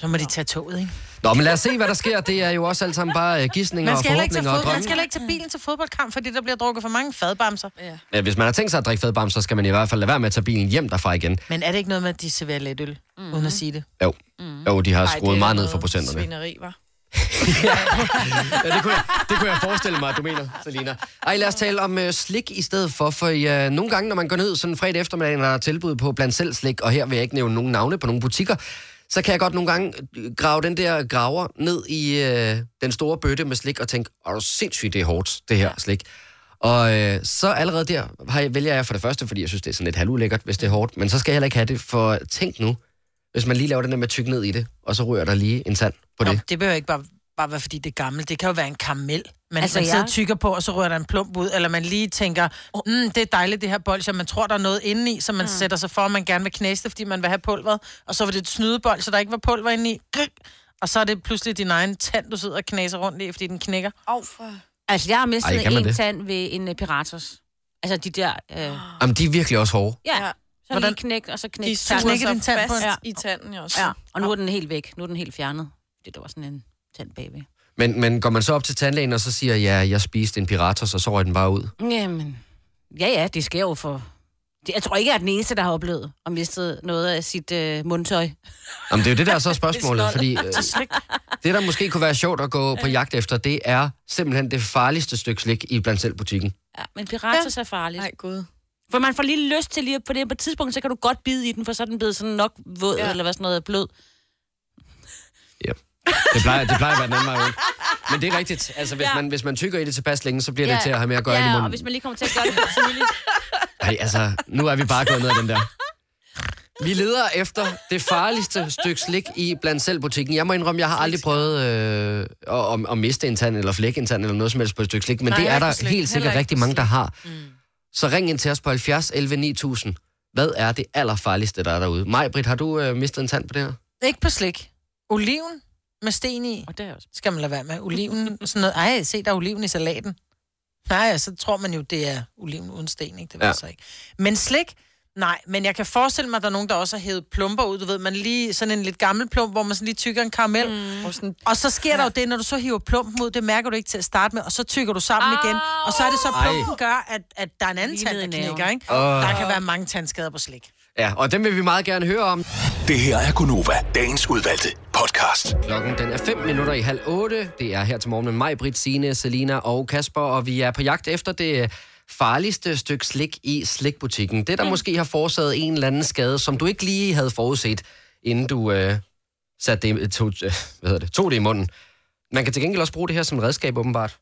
Så må de tage toget, ikke?
Nå, men lad os se, hvad der sker. Det er jo også alt sammen bare øh, gisninger
Man
og
skal, heller ikke tage
forhåbninger og
fod, man
drømme.
skal heller ikke tage bilen til fodboldkamp, fordi der bliver drukket for mange fadbamser. Ja.
Ja, hvis man har tænkt sig at drikke fadbam, så skal man i hvert fald lade være med at tage bilen hjem derfra igen.
Men er det ikke noget med, at de serverer lidt øl,
Mm.
mm-hmm. uden at sige det?
Jo, jo de har
Ej, det
skruet
er
meget ned
noget
for procenterne.
Svineri, var.
Ja, det, kunne jeg, det kunne jeg forestille mig, at du mener, Selina. Ej, lad os tale om øh, slik i stedet for, for øh, nogle gange, når man går ned sådan fredag eftermiddag, når der er tilbud på blandt selv slik, og her vil jeg ikke nævne nogen navne på nogle butikker, så kan jeg godt nogle gange øh, grave den der graver ned i øh, den store bøtte med slik og tænke, åh, sindssygt, det er hårdt, det her slik. Og øh, så allerede der har jeg, vælger jeg for det første, fordi jeg synes, det er sådan lidt halvulækkert, hvis det er hårdt, men så skal jeg heller ikke have det, for tænk nu, hvis man lige laver den der med at tykke ned i det, og så rører der lige en sand på det.
Det behøver ikke bare, bare være, fordi det er gammelt. Det kan jo være en karamel, man, altså,
Altså,
man sidder
jeg-
og tykker på, og så rører der en plump ud, eller man lige tænker, mm, det er dejligt, det her bolsje, og man tror, der er noget indeni, så man mm. sætter sig for, at man gerne vil knæse det, fordi man vil have pulveret, og så var det et snydebolsje, så der ikke var pulver indeni. Grik! Og så er det pludselig din egen tand, du sidder og knæser rundt i, fordi den knækker.
Oh, for...
Altså, jeg
Ej,
har mistet
kan man
en
det?
tand ved en uh, piratos. Altså, de der... Øh, ja,
Jamen, de er virkelig også hårde.
ja. så
Hvordan-
lige knæk, og så knæk.
De suger
tanden.
sig fast
Ja.
i tanden også.
ja, og nu er den helt væk. Nu er den helt fjernet. Det der var sådan en tand baby.
Men, men går man så op til tandlægen, og så siger, ja, jeg spiste en piratos, og så røg den bare ud?
Jamen, ja ja, det sker jo for... Det- Jeg tror ikke, jeg er den eneste, der har oplevet at miste noget af sit øh, mundtøj.
Jamen, det er jo det, der er så
Det
spørgsmålet,
er
fordi
snold.
øh, det, der måske kunne være sjovt at gå på jagt efter, det er simpelthen det farligste stykke slik i blandt selv butikken.
Ja, men pirater ja. er farligt. Nej,
gud.
For man får lige lyst til lige at- på det på et tidspunkt, så kan du godt bide i den, for så er den blevet sådan nok våd, ja. eller hvad sådan noget, blød.
Det plejer, det plejer at være den anden vej rundt. Men det er rigtigt. Altså, hvis,
Ja.
ja. man, hvis man tykker i det tilpas længe, så bliver det til at have med at gøre
ja,
ind i
og
munden.
hvis man lige kommer til at gøre det for tidligt.
Nej, altså, nu er vi bare gået ned ad den der. Vi leder efter det farligste stykke slik i blandt selv butikken. Jeg må indrømme, jeg har aldrig prøvet øh, at, at, at miste en tand eller flække en tand eller noget som helst på et stykke slik, men
Nej,
Nej, det
jeg
er
er
der
ikke slik.
helt sikkert
Heller ikke
rigtig mange, der har. Mm. Så ring ind til os på 70 11 9000. Hvad er det allerfarligste, der er derude? Majbrit, har du øh, mistet en tand på det her?
Ikke på slik. Oliven med sten i.
Og det er også.
Skal man lade være med. Oliven, sådan noget. Ej, se, der er oliven i salaten. Nej, så tror man jo, det er oliven uden sten, ikke? Det ved
Ja.
ja. så ikke. Men slik, nej. Men jeg kan forestille mig, at der er nogen, der også har hævet plumper ud. Du ved, man lige sådan en lidt gammel plump, hvor man sådan lige tykker en karamel. Mm. Og, sådan, og så sker ja. der jo det, når du så hiver plumpen ud, det mærker du ikke til at starte med, og så tykker du sammen igen. Og så er det så,
Ej.
plumpen gør, at, at der er en anden
Lige
tand,
ned
der
i næven.
knækker, ikke?
Åh.
Der kan være mange tandskader på slik.
Ja, og dem vil vi meget gerne høre om.
Det her er Gunova, dagens udvalgte podcast.
Klokken den er 5 minutter i halv 8. Det er her til morgen med mig, Britt, Signe, Selina og Kasper, og vi er på jagt efter det farligste stykke slik i slikbutikken. Det, der mm. måske har forårsaget en eller anden skade, som du ikke lige havde forudset, inden du øh, satte det, tog, øh, hvad hedder det, tog det i munden. Man kan til gengæld også bruge det her som et redskab, åbenbart.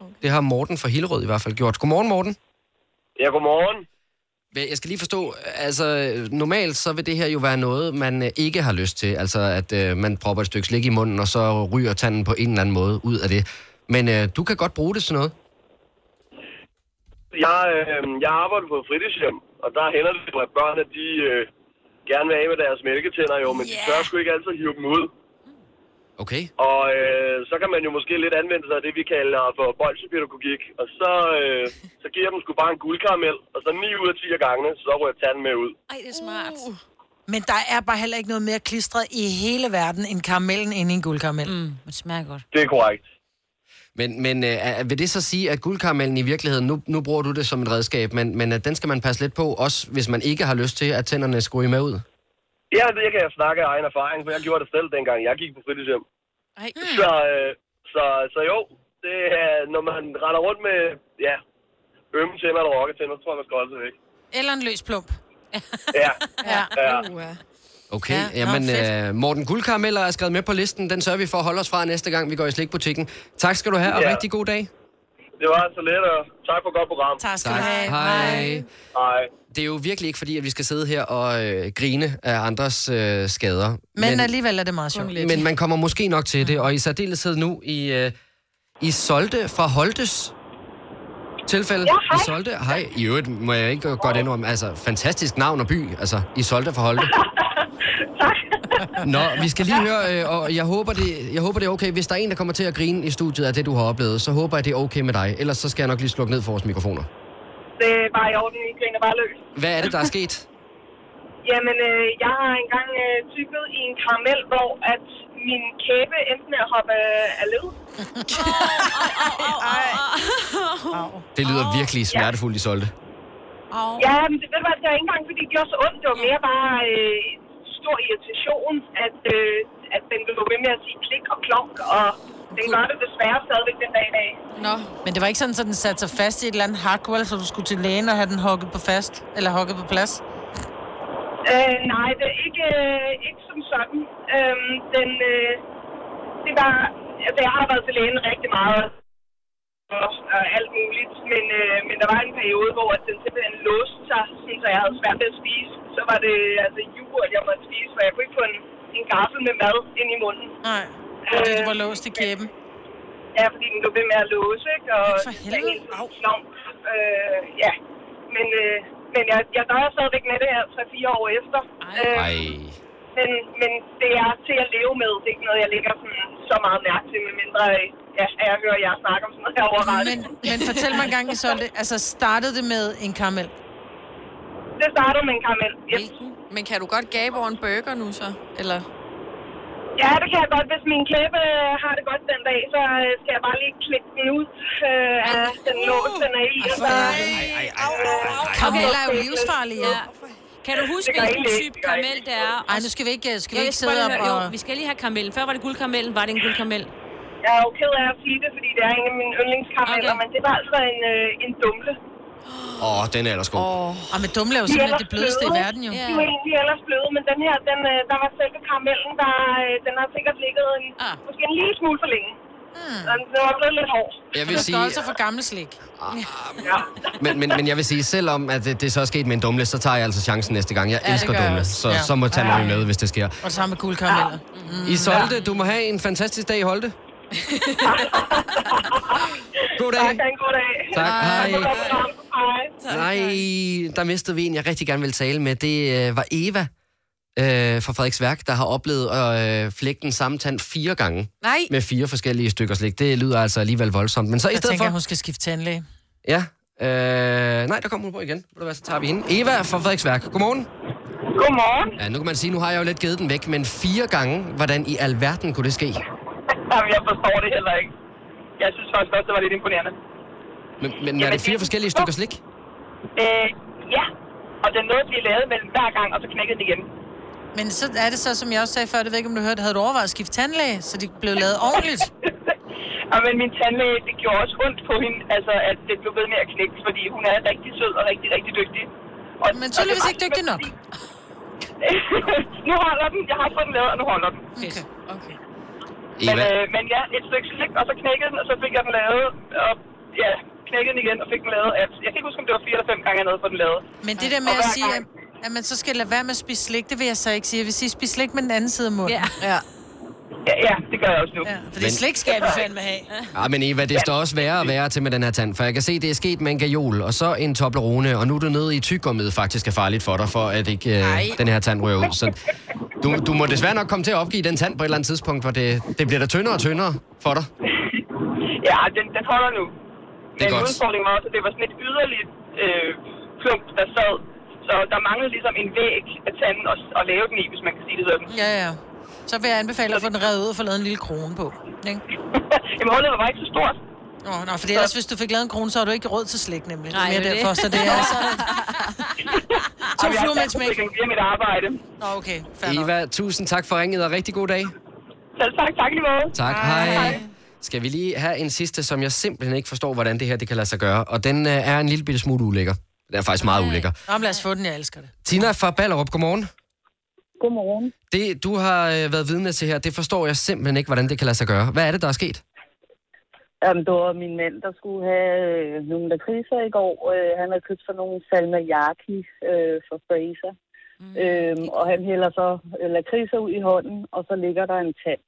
Okay. Det har Morten fra Hillerød i hvert fald gjort. Godmorgen, Morten.
Ja, godmorgen.
Jeg skal lige forstå, altså normalt så vil det her jo være noget, man øh, ikke har lyst til. Altså at øh, man propper et stykke slik i munden, og så ryger tanden på en eller anden måde ud af det. Men øh, du kan godt bruge det sådan noget.
Jeg, øh, jeg arbejder på et fritidshjem, og der hænder det, jo, at børnene de, øh, gerne vil af med deres mælketænder, jo, men yeah. de tør sgu ikke altid hive dem ud.
Okay.
Og øh, så kan man jo måske lidt anvende sig af det, vi kalder for bolsjepædagogik. Og så, øh, så giver jeg dem sgu bare en guldkaramel, og så 9 ud af 10 af gangene, så rører tanden med ud.
Ej, det er smart.
Men der er bare heller ikke noget mere klistret i hele verden end karamellen inde i en guldkaramel. Mm,
det smager godt.
Det er korrekt.
Men, men øh, er- vil det så sige, at guldkaramellen i virkeligheden, nu, nu bruger du det som et redskab, men, men at den skal man passe lidt på, også hvis man ikke har lyst til, at tænderne skulle med ud?
Ja, det kan jeg snakke af egen erfaring, for jeg gjorde det selv, dengang jeg gik på fritidshjem.
Ej.
Mm.
Så, øh, så, så jo, det er, når man render rundt med, ja, ømme tænder eller rokke tænder, så tror jeg, man skal holde sig væk.
Eller en løs plump.
Ja.
ja.
ja.
Mm. Okay, ja, jamen øh, Morten Guldkarameller er skrevet med på listen. Den sørger vi for at holde os fra næste gang, vi går i slikbutikken. Tak skal du have, og
Ja.
rigtig god dag.
Det var så let, og tak for et godt program.
Tak
skal Tak. du have. Hej.
Hej.
Det er jo virkelig ikke fordi, at vi skal sidde her og øh, grine af andres øh, skader.
Men, men alligevel er det meget sjovt.
men man kommer måske nok til det, og i særdeleshed nu i, øh, i Solde fra Holtes tilfælde. Ja, hej. I Solde, hej. I øvrigt må jeg ikke godt indrømme, altså fantastisk navn og by, altså i Solde fra Holte. Nå, vi skal lige høre, øh, og jeg håber, det, jeg håber, det er okay. Hvis der er en, der kommer til at grine i studiet af det, du har oplevet, så håber jeg, det er okay med dig. Ellers så skal jeg nok lige slukke ned for vores mikrofoner.
Det er bare i orden, I griner bare løs.
Hvad er det, der er sket?
Jamen, øh, jeg har engang øh, tykket i en karamel, hvor at min kæbe endte med at hoppe øh, af led.
Det lyder virkelig smertefuldt i Solde.
ja, men det ved du hvad, det var ikke engang, fordi det gjorde så ondt. Det var mere bare øh, stor irritation, at, øh, at den blev ved med at sige klik og klonk, og den gør det desværre stadigvæk den dag i dag.
Nå. Men det var ikke sådan, at den satte sig fast i et eller andet hardware, så du skulle til lægen og have den hugget på fast, eller hugget på plads.
Øh, nej, det er ikke, øh, ikke som sådan. Øhm, den, øh, det var, altså jeg har været til lægen rigtig meget og og alt muligt, men, øh, men der var en periode, hvor at den simpelthen låste sig, sådan, så jeg havde svært ved at spise. Så var det altså jul, at jeg måtte spise, for jeg kunne ikke få en, en gaffel med mad ind i munden.
Nej, fordi du var låst i kæben.
Ja, fordi den blev ved med at låse, ikke? Og
Ja, for helvede.
Der er helt sådan øh, ja, men, øh, men jeg, jeg døjer stadigvæk med det her 3-4 år efter. Øh,
Ej.
men, men det er til at leve med. Det er ikke noget, jeg lægger sådan, så meget mærke til, medmindre øh, ja, at jeg hører jer snakke om sådan noget her over
Men, men fortæl mig engang, Isolde, altså startede det med en karamel?
Det startede med en karamel,
yes. Men kan du godt gabe over en burger nu så? Eller?
Ja, det kan jeg godt. Hvis min kæbe øh, har det godt den dag, så øh, skal jeg bare lige klikke den ud
Eh,
øh, af den lås, den er i. og så-
Karameller er jo livsfarlige.
Ja. Kan du huske,
Det gør I
hvilken
ikke.
type karamel det er?
Ej, nu skal vi ikke, skal vi
Jo,
ikke
jeg skal
sidde
bare lige
op
høre-
og...
Jo, vi skal lige have karamellen. Før var det guldkaramellen, var det en guldkaramel?
Jeg er jo ked af at sige det, fordi det er en af mine yndlingskarameller, okay. men det var altså en, øh, en dumle.
Åh, oh, den er ellers god. Oh.
Ah, men dumle er jo
De
simpelthen det
ellers
blødeste i
bløde.
verden, jo.
De er jo egentlig ellers bløde, men den her, den, øh, der var selve karamellen, der, øh, den har sikkert ligget en, ah. måske en lille smule for længe. Mm. Den var blevet lidt hård.
Jeg vil sige, Ah,
Så for gammel slik.
Ja.
men, men, men jeg vil sige, selvom at det, det så er sket med en dumle, så tager jeg altså chancen næste gang. Jeg
Ja, det
elsker
gør jeg
dumle,
også.
så,
Ja.
så må tage mig
Ja.
med, hvis det sker.
Og sammen med guldkarameller. Mm.
Ah. I Solte, du må have en fantastisk dag i Holte. God dag.
Tak, ha' en god dag.
Tak, hej.
for godt program. Hej.
Nej, der mistede vi en, jeg rigtig gerne vil tale med. Det øh, var Eva øh, fra Frederiks Værk, der har oplevet at øh, flække den samme tand fire gange.
Nej.
Med fire forskellige stykker slik. Det lyder altså alligevel voldsomt. Men så i
Jeg
stedet
tænker,
for...
at hun skal skifte tandlæge.
Ja. Øh, nej, der kommer hun på igen. Ved du hvad, så tager vi hende. Eva fra Frederiksværk. Godmorgen.
Godmorgen.
Ja, nu kan man sige, nu har jeg jo lidt givet den væk, men fire gange, hvordan i alverden kunne det ske?
Jamen, jeg forstår det heller ikke. Jeg synes faktisk også, det var lidt imponerende.
Men, men er det fire forskellige stykker slik?
Øh, ja, og den nåede at blive lavet mellem hver gang, og så knækkede det igen.
Men så er det så, som jeg også sagde før, det ved jeg ikke, om du hørte, havde du overvejet at skifte tandlæge, så de blev lavet ordentligt.
Og men min tandlæge, det gjorde også ondt på hende, altså at det blev ved med at knække, fordi hun er rigtig sød og rigtig, rigtig dygtig. Og,
Men tydeligvis ikke dygtig nok.
nu holder den. Jeg har fået den lavet, og nu holder den.
Okay, okay.
Men,
Eva.
øh, men ja, et stykke slik, og så knækkede den, og så fik jeg den lavet, og ja, knækkede den igen, og fik den lavet. Jeg, jeg kan ikke huske, om det var fire eller fem gange, jeg nåede for den lavet.
Men det der med
Og
at
hver
sige, at,
gang-
at man så skal lade være med at spise slik, det vil jeg så ikke sige. Jeg vil sige, spis slik med den anden side af munden.
Ja.
Ja, ja det gør jeg også nu.
Ja, for
Men-
det slik skal vi fandme have.
Ja, Ah, men Eva, det står også værre og værre til med den her tand, for jeg kan se, det er sket med en gajol, og så en Toblerone, og nu er du nede i tyggegummiet faktisk er farligt for dig, for at ikke øh, den her tand rører ud. Så du, du må desværre nok komme til at opgive den tand på et eller andet tidspunkt, hvor det, det bliver da tyndere og tyndere for dig.
Ja, den, den holder nu.
Det er
Men
godt.
udfordringen var også, at det var sådan et yderligt øh, klump, der sad Så der manglede ligesom en væg af tanden at, at lave den i, hvis man kan sige det sådan.
Ja, ja. Så vil jeg anbefale at få den revet ud og få lavet en lille krone på. Ikke?
Jamen, hullet var bare ikke så stort.
Nå, nå, for det er også, hvis du fik lavet en krone, så har du ikke råd til slik, nemlig.
Nej,
Nej, det er
det
mere
er det.
derfor, så det er altså...
Ej,
To
men jeg
fluer med
har
et smæk.
stadig problemer med mit arbejde.
Nå, okay.
Eva, tusind tak for ringet, og rigtig god dag.
Selv tak, tak lige måde.
Tak, hej. hej. Skal vi lige have en sidste, som jeg simpelthen ikke forstår, hvordan det her det kan lade sig gøre. Og den øh, er en lille bitte smule ulækker. Den er faktisk meget ulækker.
Nå, men lad os få den, jeg elsker det.
Tina fra Ballerup, godmorgen.
Godmorgen.
Det, du har øh, været vidne til her, det forstår jeg simpelthen ikke, hvordan det kan lade sig gøre. Hvad er det, der er sket?
Jamen, det var min mand, der skulle have øh, nogle lakridser i går. Øh, han havde købt sådan nogle salmiakki øh, fra Fraser.
Øh.
Mm.
Øh.
Øhm, og han hælder så øh, lakridser ud i hånden, og så ligger der en tand.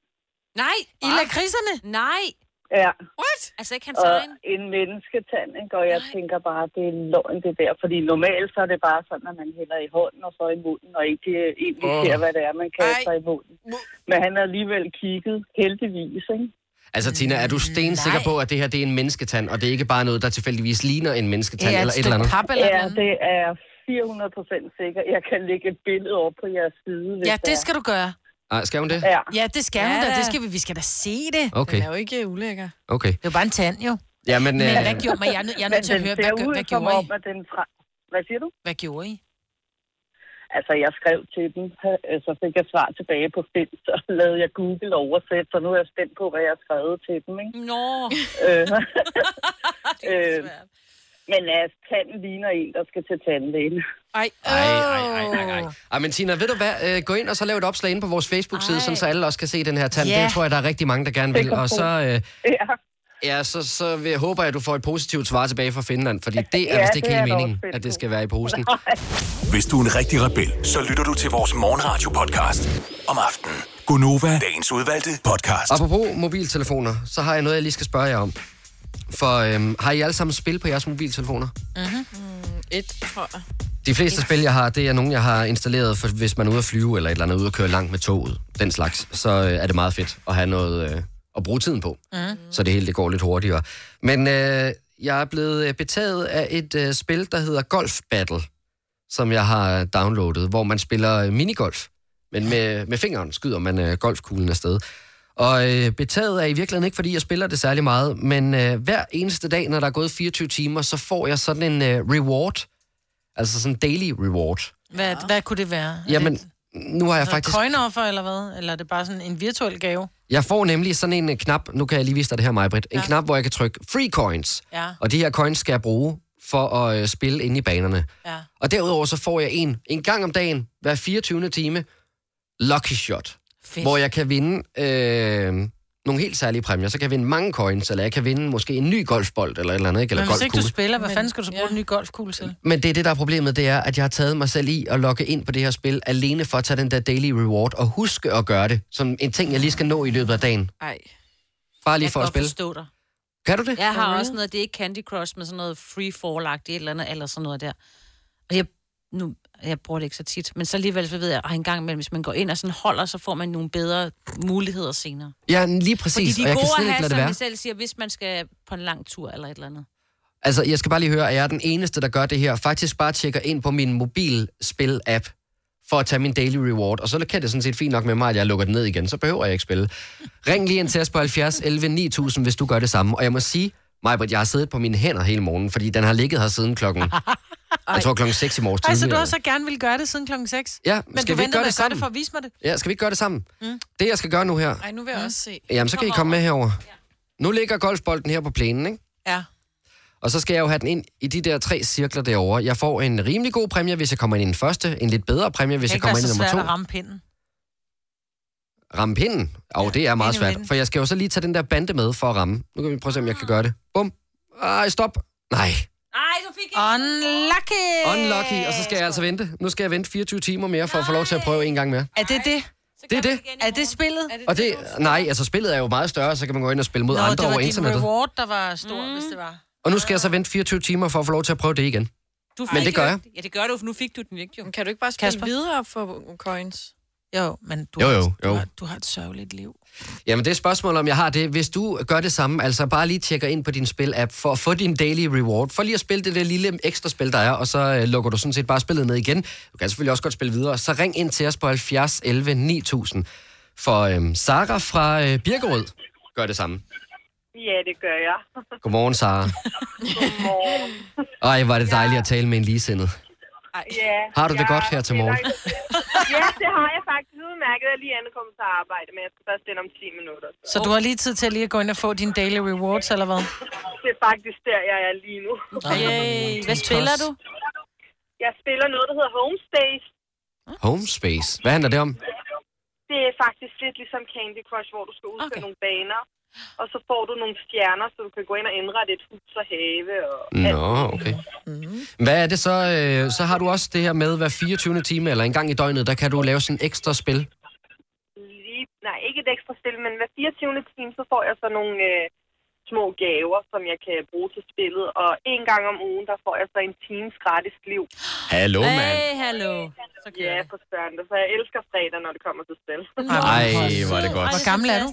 Nej.
I lakridserne?
Nej.
Ja.
What?
Altså ikke hans
Øh.
Og
egen?
en mennesketand, ikke? og jeg tænker bare, det er løgn det der. Fordi normalt så er det bare sådan, at man hælder i hånden og så i munden, og ikke øh, egentlig
Åh.
oh. ser, hvad det er, man kaster i munden. Men han har alligevel kigget, heldigvis, ikke?
Altså, Tina,
Mm,
er du stensikker på, at det her det er en mennesketand, og det er ikke bare noget, der tilfældigvis ligner en mennesketand eller et eller andet?
Ja, det er 400 procent sikker. Jeg kan lægge et billede op på jeres side. Hvis
Ja, det skal du gøre.
Ah, skal hun det?
Ja, det skal
Ja,
ja, hun da.
da.
Det skal vi. Vi skal da se det.
Okay. Den er jo
ikke ulækker.
Okay.
Det er jo bare en tand, jo.
Ja, men,
Men
øh,
hvad gjorde man? Jeg er nødt- jeg er nødt til at høre, hvad gør- hvad gjorde I?
At den fra... Hvad siger du?
Hvad gjorde I?
Altså, jeg skrev til dem, øh, så fik jeg svar tilbage på finsk, og så lavede jeg Google oversæt, så nu er jeg spændt på, hvad jeg har skrevet til dem, ikke?
Nå.
Øh, øh, men altså, tanden ligner en, der skal til tandlægen.
Ej,
Ej, ej, ej, ej, ej. Ej, men Tina, ved du hvad? Øh, Gå ind og så lav et opslag inde på vores Facebook-side, sådan, så alle også kan se den her tand.
Ja.
Det tror jeg, der er rigtig mange, der gerne vil. Og så, øh,
Ja.
ja, så, så vil- håber jeg, at du får et positivt svar tilbage fra Finland, fordi det er
Ja,
vist ikke
det er
helt
jeg
meningen,
også fedt
at det skal være i posen.
Hvis du er en rigtig rebel, så lytter du til vores morgenradio-podcast om aftenen. Gunova, dagens udvalgte podcast.
Apropos mobiltelefoner, så har jeg noget, jeg lige skal spørge jer om. For øhm, har I alle sammen spil på jeres mobiltelefoner?
Mm, et, tror jeg.
De fleste spil, jeg har, det er nogle, jeg har installeret, for hvis man er ude at flyve eller et eller andet, ude at køre langt med toget, den slags, så øh, er det meget fedt at have noget øh, at bruge tiden på.
Mm.
så det hele det går lidt hurtigere. Men øh, jeg er blevet øh, betaget af et øh, spil, der hedder Golf Battle, som jeg har downloadet, hvor man spiller øh, minigolf, men med, med fingeren skyder man øh, golfkuglen afsted. Og øh, betaget er i virkeligheden ikke, fordi jeg spiller det særlig meget, men øh, hver eneste dag, når der er gået 24 timer, så får jeg sådan en øh, reward, altså sådan en daily reward.
Hvad, hvad kunne det Altså, være?
Jamen, nu har jeg faktisk...
Coinoffer, eller hvad? Eller er det bare sådan en virtuel gave?
Jeg får nemlig sådan en øh, knap, nu kan jeg lige vise dig det her, Majbrit, en ja. knap, hvor jeg kan trykke free coins.
Ja.
Og de her coins skal jeg bruge for at øh, spille inde i banerne.
Ja.
Og derudover så får jeg en, en gang om dagen, hver 24. time, lucky shot.
Fedt.
Hvor jeg kan vinde øh, nogle helt særlige præmier. Så kan jeg vinde mange coins, eller jeg kan vinde måske en ny golfbold, eller et eller andet, ikke? eller
Men hvis ikke du
golfkugle.
spiller, hvad fanden skal du så bruge ja. en ny golfkugle til?
Men det er det, der er problemet, det er, at jeg har taget mig selv i at logge ind på det her spil, alene for at tage den der daily reward, og huske at gøre det, som en ting, jeg lige skal nå i løbet af dagen.
Ej.
Bare lige
jeg
for
kan
at
godt
spille.
forstå dig.
Kan du det?
Jeg har også noget, det er ikke Candy Crush, men sådan noget free fall et eller andet, eller sådan noget der. Og jeg, nu, jeg bruger det ikke så tit, men så alligevel så ved jeg, at en gang imellem, hvis man går ind og sådan holder, så får man nogle bedre muligheder senere.
Ja, lige præcis,
Fordi
og
de
jeg kan
er gode
slet
at
ikke
have,
lade det
som
være.
vi selv siger, hvis man skal på en lang tur eller et eller andet.
Altså, jeg skal bare lige høre, at jeg er den eneste, der gør det her. Faktisk bare tjekker ind på min mobilspil-app for at tage min daily reward. Og så kan det sådan set fint nok med mig, at jeg lukker den ned igen. Så behøver jeg ikke spille. Ring lige ind til os på 70 11 9000, hvis du gør det samme. Og jeg må sige, Majbert, jeg har siddet på mine hænder hele morgenen, fordi den har ligget her siden klokken... jeg tror klokken 6 i morges
Ej, så
tidlig,
du
eller-
også så gerne ville gøre det siden klokken 6?
Ja,
men
skal
du
vi ikke
venter
gøre
med
det
at gøre det
sammen?
for at vise mig det?
Ja, skal vi ikke gøre det sammen?
Mm.
Det, jeg skal gøre nu her...
Ej, nu vil jeg også se.
Jamen, så kan I komme med herover. Nu ligger golfbolden her på plænen, ikke?
Ja.
Og så skal jeg jo have den ind i de der tre cirkler derovre. Jeg får en rimelig god præmie, hvis jeg kommer ind i den første. En lidt bedre præmie, hvis jeg kommer ind i nummer
Det kan ikke være så svært
to.
at ramme pinden.
Ramme pinden? Og det er meget svært. For jeg skal jo så lige tage den der bande med for at ramme. Nu kan vi prøve at se, om jeg kan gøre det. Bum. Ej, stop. Nej.
Ej, du fik
Unlucky!
Unlucky. Og så skal jeg altså vente. Nu skal jeg vente 24 timer mere for at få lov til at prøve en gang mere.
Er det det?
Det er det.
Er det spillet? Er det
Og det, nej, altså spillet er jo meget større, så kan man gå ind og spille mod
Nå,
andre
det var
over
din
internettet.
reward, der var stor, mm. hvis det var.
Og nu skal jeg så vente 24 timer for at få lov til at prøve det igen. Men det gør jeg.
Ja, det gør du, for nu fik du den ikke, jo.
Kan du ikke bare spille Kasper? videre for coins?
Jo, men du,
Jo,
jo, jo,
jo,
jo. Har, du,
jo.
har, du har et sørgeligt liv.
Jamen, det er et spørgsmål, om jeg har det. Hvis du gør det samme, altså bare lige tjekker ind på din spil-app for at få din daily reward, for lige at spille det der lille ekstra spil, der er, og så øh, lukker du sådan set bare spillet ned igen. Du kan selvfølgelig også godt spille videre. Så ring ind til os på 70 11 9000. For øhm, Sara fra øh, Birkerød gør det samme.
Ja, det gør jeg.
Godmorgen, Sara.
Godmorgen.
Ej, var det dejligt at tale med en ligesindet.
Ja,
Har du det
jeg-
godt her til morgen?
ja, det har jeg faktisk udmærket. Jeg er lige ankommet til arbejde, men jeg skal først ind om 10 minutter.
Så du har lige tid til at lige at gå ind og få dine daily rewards, eller hvad?
Det er faktisk der, jeg er lige nu.
Yay. Hvad spiller du?
Jeg spiller noget, der hedder Homestays.
Home Space. Hvad handler det om?
Det er faktisk lidt ligesom Candy Crush, hvor du skal udføre okay. nogle baner, og så får du nogle stjerner, så du kan gå ind og indrette et hus og have. Og
Nå, okay. Hvad er det så? Øh, så har du også det her med hver 24. time, eller en gang i døgnet, der kan du lave sådan ekstra spil.
lige, nej, ikke et ekstra spil, men hver 24. time, så får jeg så nogle øh, små gaver, som jeg kan bruge til spillet. Og en gang om ugen, der får jeg så en times gratis liv.
Hallo, mand.
Hey, hallo. Så
ja, for søren. Så jeg elsker fredag, når det kommer til spil.
Ej, hvor er det godt.
Hvor gammel er du?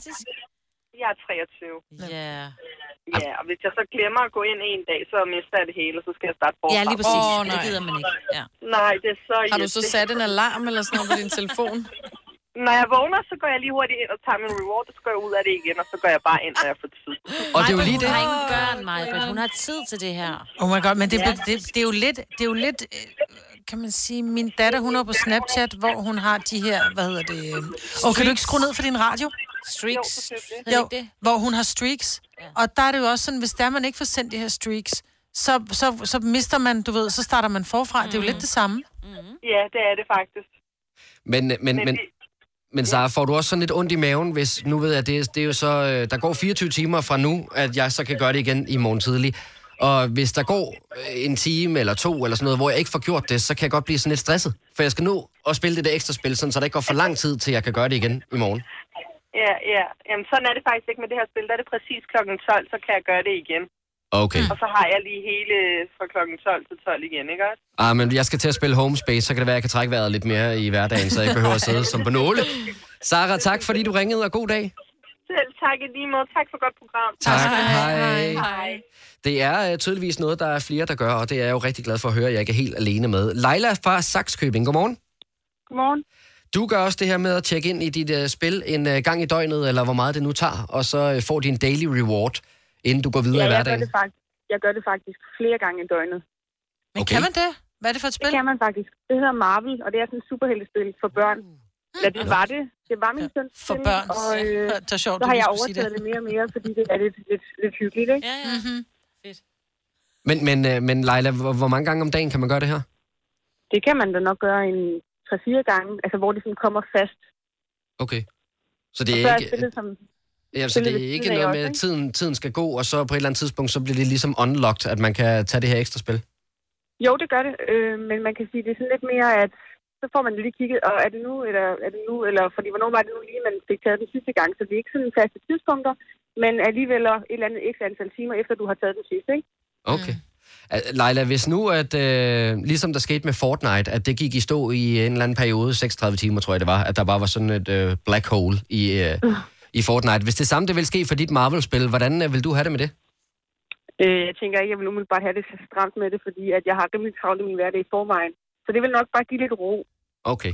Jeg er 23.
Ja.
Ja, og hvis jeg så glemmer at gå ind en dag, så mister jeg det hele, og så skal jeg starte forfra.
Ja, lige præcis. Åh, Det nej. gider man ikke. Ja.
Nej, det er så
Har du så
irriterende.
sat en alarm eller sådan noget på din telefon?
Når jeg vågner, så går jeg lige hurtigt ind og tager min reward, og så går jeg ud af det igen, og så går jeg bare ind, når jeg får tid.
Og det er jo lige
Hun har ingen børn, Maja. Hun har tid til det her.
Oh my god, men det, det, det, det er jo lidt, det er jo lidt øh, kan man sige, min datter, hun er på Snapchat, hvor hun har de her, hvad hedder det? øh, Åh, oh, kan du ikke skrue ned for din radio?
Streaks. Jo,
Jo, hvor hun har streaks. Og der er det jo også sådan, hvis der man ikke får sendt de her streaks, så, så, så mister man, du ved, så starter man forfra.
Mm.
Det er jo lidt det samme.
Mm.
Ja, det er det faktisk.
Men, øh, men, men, men Sara, får du også sådan lidt ondt i maven, hvis nu ved jeg, det, det er jo så, øh, der går 24 timer fra nu, at jeg så kan gøre det igen i morgen tidlig. Og hvis der går øh, en time eller to eller sådan noget, hvor jeg ikke får gjort det, så kan jeg godt blive sådan lidt stresset. For jeg skal nå at spille det der ekstra spil, sådan, så der ikke går for lang tid, til jeg kan gøre det igen i morgen.
Ja, ja. Jamen, sådan er det faktisk ikke med det her spil. Der er det præcis kl. 12, så kan jeg gøre det igen.
Okay.
Og så har jeg lige hele fra kl. 12 til 12 igen, ikke også?
Ah, men jeg skal til at spille home space, så kan det være, at jeg kan trække vejret lidt mere i hverdagen, så jeg ikke behøver at sidde som på nåle. Sara, tak fordi du ringede, og god dag.
Selv tak i lige måde. Tak for godt program.
Tak. Hej. Hej.
Hej.
Det er øh, tydeligvis noget, der er flere, der gør, og det er jeg jo rigtig glad for at høre, at jeg ikke er helt alene med. Leila fra Saxkøbing, godmorgen.
Godmorgen.
Du gør også det her med at tjekke ind i dit uh, spil en uh, gang i døgnet, eller hvor meget det nu tager, og så uh, får din daily reward, inden du går videre
ja,
i
jeg gør,
hverdagen.
det faktisk, jeg gør det faktisk flere gange i døgnet.
Men okay. kan man
det? Hvad er det for et spil?
Det kan man faktisk. Det hedder Marvel, og det er sådan et superheltespil for børn. Eller det var det. Det var min søns
Mm. For
spil,
børn.
Og, øh,
Det er sjovt,
så
du
har
lige
jeg
skulle sige
overtaget
det.
det mere og mere, fordi det er lidt, lidt, lidt hyggeligt, ikke?
Ja, ja.
Mm-hmm.
Men, men, uh, men Leila, hvor, hvor mange gange om dagen kan man gøre det her?
Det kan man da nok gøre en 3-4 gange, altså hvor det sådan kommer fast.
Okay. Så det
og så
er
er
ikke...
spillet som...
Ja, så
spillet
det
ved
er ikke
siden af
noget
også,
med, at
ikke?
tiden, tiden skal gå, og så på et eller andet tidspunkt, så bliver det ligesom unlocked, at man kan tage det her ekstra spil.
Jo, det gør det, øh, men man kan sige, det er sådan lidt mere, at så får man lige kigget, og er det nu, eller er det nu, eller fordi hvornår var det nu lige, man fik taget den sidste gang, så det er ikke sådan faste tidspunkter, men alligevel og et eller andet ekstra antal timer, efter du har taget den sidste, ikke?
Okay. Mm. Leila, hvis nu, at øh, ligesom der skete med Fortnite, at det gik i stå i en eller anden periode, 36 timer tror jeg det var, at der bare var sådan et øh, black hole i, øh, i Fortnite. Hvis det samme det vil ske for dit Marvel-spil, hvordan øh, vil du have det med det?
Øh, jeg tænker ikke, jeg vil umiddelbart have det så stramt med det, fordi at jeg har rimelig travlt i min hverdag i forvejen. Så det vil nok bare give lidt ro.
Okay.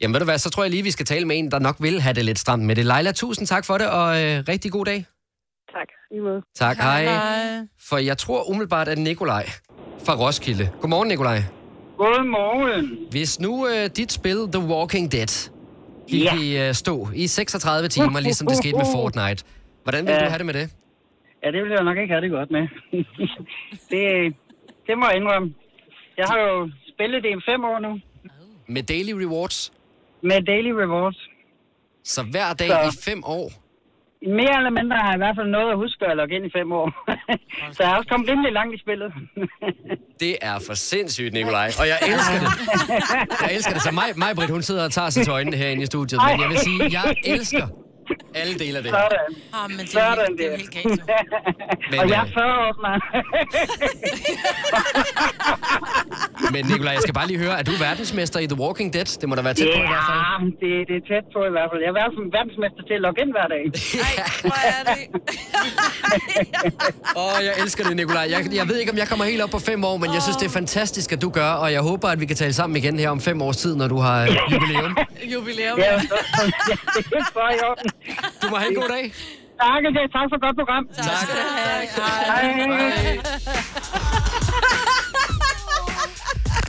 Jamen ved du hvad, så tror jeg lige, vi skal tale med en, der nok vil have det lidt stramt med det. Leila, tusind tak for det, og øh, rigtig god dag.
Tak. I måde.
Tak, hej. For jeg tror umiddelbart, at Nikolaj fra Roskilde. Godmorgen, Nikolaj.
Godmorgen.
Hvis nu øh, dit spil The Walking Dead gik ja. i øh, stå i 36 timer, ligesom det skete med Fortnite, hvordan ville
Ja.
du have det med det?
Ja, det ville jeg nok ikke have det godt med. det, det må jeg indrømme. Jeg har jo spillet det i fem år nu.
Med daily rewards?
Med daily rewards.
Så hver dag i fem år?
Mere eller mindre har jeg i hvert fald noget at huske at logge ind i fem år. så jeg har også kommet rimelig langt i spillet.
Det er for sindssygt, Nikolaj. Og jeg elsker det. Jeg elsker det. Så mig, mig Britt, hun sidder og tager sig til øjnene herinde i studiet. Men jeg vil sige, jeg elsker alle dele af det.
Sådan.
Ah, men det
er, Sådan,
det er helt galt.
Men,
og jeg
øh,
er 40 år snart.
Men Nicolaj, jeg skal bare lige høre, er du verdensmester i The Walking Dead? Det må da være tæt på i hvert fald.
Ja, det, det er tæt på i hvert fald. Jeg er verdens- verdensmester til at logge ind hver dag.
Åh, oh, jeg elsker det, Nicolaj. Jeg, jeg ved ikke, om jeg kommer helt op på fem år, men jeg synes, det er fantastisk, at du gør, og jeg håber, at vi kan tale sammen igen her om fem års tid, når du har øh, jubilæum.
Jubilæum.
Ja, det er for i orden.
Du må have en god dag.
Tak, okay. tak for et godt program. Tak. tak. Hej. Hej.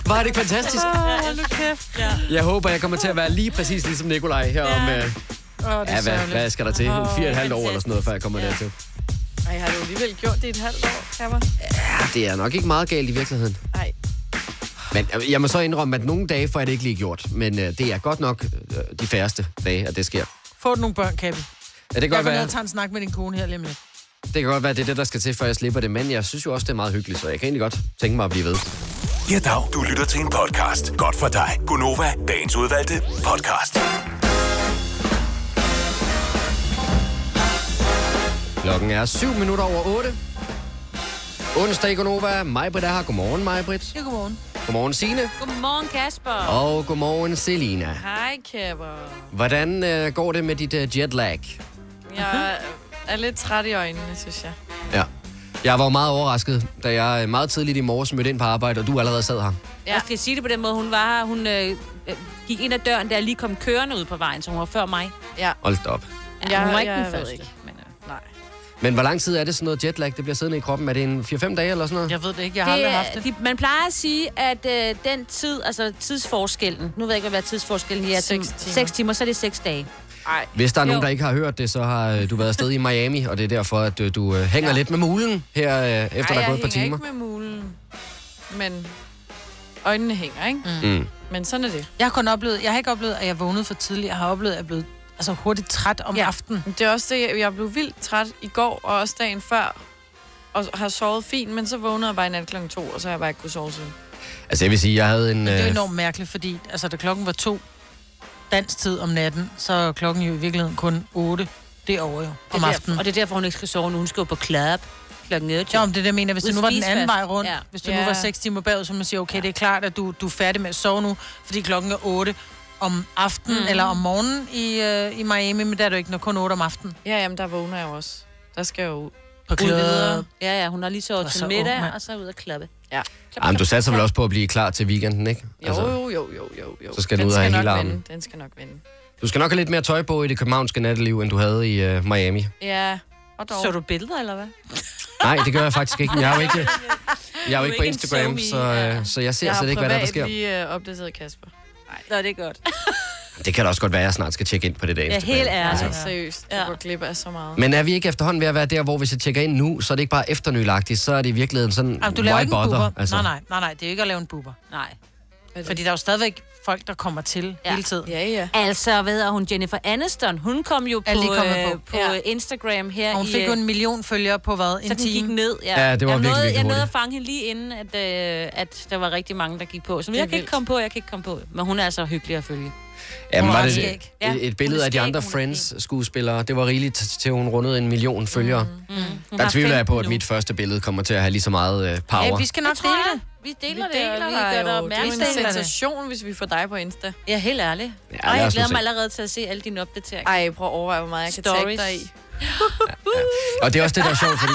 Var det fantastisk?
Ja, hold nu kæft. Ja.
Jeg håber, jeg kommer til at være lige præcis ligesom Nikolaj her om...
Åh,
Øh,
det
ja,
er
hvad,
sørgeligt.
hvad skal der til? En fire og et halvt år eller sådan noget, før jeg kommer ja. dertil.
Ej, har du alligevel gjort det i et halvt år, Kammer?
Ja, det er nok ikke meget galt i virkeligheden.
Nej.
Men øh, jeg må så indrømme, at nogle dage får jeg det ikke lige gjort. Men øh, det er godt nok øh, de færreste dage, at det sker.
Få nogle børn, Kabi.
Ja, det kan
jeg
godt
går ned
være.
og tager en snak med din kone her lige om lidt.
Det kan godt være, det er det, der skal til, før jeg slipper det. Men jeg synes jo også, det er meget hyggeligt, så jeg kan egentlig godt tænke mig at blive ved.
Ja, dag. Du lytter til en podcast. Godt for dig. Gunova, dagens udvalgte podcast.
Klokken er 7 minutter over 8. Onsdag i Gonova. Majbrit er her. Godmorgen, Majbrit.
Ja, godmorgen.
Godmorgen, Signe.
Godmorgen, Kasper.
Og godmorgen, Selina.
Hej, Kapper.
Hvordan øh, går det med dit øh, jetlag?
Jeg er lidt træt i øjnene, synes jeg.
Ja. Jeg var jo meget overrasket, da jeg øh, meget tidligt i morges mødte ind på arbejde, og du allerede sad her.
Ja. Jeg skal sige det på den måde, hun var her. Hun øh, øh, gik ind ad døren, der lige kom kørende ud på vejen, så hun var før mig.
Ja.
Hold da op.
Ja, hun var ikke
jeg
den
ved
første.
ikke, Men, øh, nej.
Men hvor lang tid er det sådan noget jetlag, det bliver siddende i kroppen? Er det en 4-5 dage eller sådan noget?
Jeg ved det ikke,
er- De, man plejer at sige, at øh, den tid, altså tidsforskellen, nu ved jeg ikke, hvad tidsforskellen er, 6 timer. 6 timer, så er det 6 dage.
Nej.
Hvis der er nogen, der ikke har hørt det, så har øh, du været afsted i Miami, og det er derfor, at øh, du øh, hænger ja. lidt med mulen her, øh, efter Ej, der er
jeg
gået et par timer.
hænger ikke med mulen. Men øjnene hænger, ikke?
Mm.
Men sådan er det.
Jeg har kun oplevet, jeg har ikke oplevet, at jeg vågnede for tidligt. Jeg har oplevet, at jeg er blevet altså, hurtigt træt om ja. aftenen.
Det er også det, jeg blev vildt træt i går, og også dagen før, og har sovet fint, men så vågnede jeg bare i nat klokken to, og så har jeg bare ikke kunne sove siden.
Altså, jeg vil sige, jeg havde en...
Det er jo
øh,
enormt mærkeligt, fordi altså, da klokken var to dansk tid om natten, så er klokken jo i virkeligheden kun 8 derovre jo, om
derfor-
aftenen.
og det er derfor, hun ikke skal sove nu. Hun skal jo på klap klokken 8.
Ja, om det er det, jeg mener. Hvis det
Ude
nu var den anden
spisefast.
vej rundt,
Ja.
ja. hvis det
Ja.
nu var 6 timer bagud, så må man sige, okay, det er klart, at du, du er færdig med at sove nu, fordi klokken er 8 om aftenen
Mhm.
Mm.
mm. eller om morgenen i, øh, i Miami, men der er det jo ikke når kun 8 om aftenen.
Ja, jamen, der vågner jeg jo også. Der skal jeg jo
På klæder.
Ja, ja, hun har lige
Og
sovet til
så ung,
middag,
mand.
og så ud og klappe.
Ja.
Jamen, du satser vel også på at blive klar til weekenden, ikke? Altså,
Jo, jo, jo, jo, jo, jo.
Så skal den ud og have
nok
hele
vende.
armen.
Den skal nok vinde.
Du skal nok have lidt mere tøj på i det københavnske natteliv, end du havde i øh, Miami.
Ja, og dog.
Så du billeder, eller hvad?
Nej, det gør jeg faktisk ikke. Jeg er jo ikke, jeg er jo ikke på
ikke en
Instagram,
somi,
så, øh, så jeg ser
jeg
slet ikke, hvad der, er, der sker.
Jeg har privat lige øh, opdateret Kasper. Nej.
Nå, det er godt.
Det kan da også godt være, at jeg snart skal tjekke ind på det der Instagram. Altså,
ærligt. Altså, Ja. Seriøst, du går glip af så meget.
Men er vi ikke efterhånden ved at være der, hvor hvis jeg tjekker ind nu, så er det ikke bare efternølagtigt, så er det i virkeligheden sådan,
Jamen, Ah, du laver
Mm. why
ikke en
bother?
buber. Altså. Nej, nej, nej, nej, det er jo ikke at lave en buber.
Nej.
Fordi der er jo stadigvæk folk, der kommer til ja. hele tiden.
Ja, ja.
Altså, hvad hedder hun? Jennifer Aniston. Hun kom jo på,
Er lige kommet
øh,
på.
på
Ja.
øh, Instagram her
Og hun
i...
fik jo
øh,
en million følgere på hvad? En
så den
time?
gik ned. Ja,
Ja, det var
jeg
virkelig,
nåede,
virkelig
Jeg nåede at
hurtigt.
fange hende lige inden, at, øh, at der var rigtig mange, der gik på. Så
Det er
jeg kan ikke
vildt.
komme på, jeg kan ikke komme på. Men hun er altså hyggelig at følge.
Jamen,
Hun
var
er
det
skæg.
et,
Ja,
et
hun
billede
er
af de
skæg,
andre
hun er
Friends-skuespillere? Det var rigeligt til- til, hun rundede en million følgere. Mm.
Hun
Der
har
tvivler jeg på, at
15 nu.
mit første billede kommer til at have lige så meget øh, power.
skal nok
dele det. Vi deler,
Vi deler
det, og vi
dig
gør
jo.
dig opmærksom.
Det er en sensation, hvis vi får dig på Insta.
Ja, helt ærligt.
Ja,
Ej,
lad
jeg
os nu
glæder
se.
mig allerede til at se alle dine opdateringer.
Ej, prøv at overveje, hvor meget jeg kan tagge dig i.
Og det er også det, der er sjovt, fordi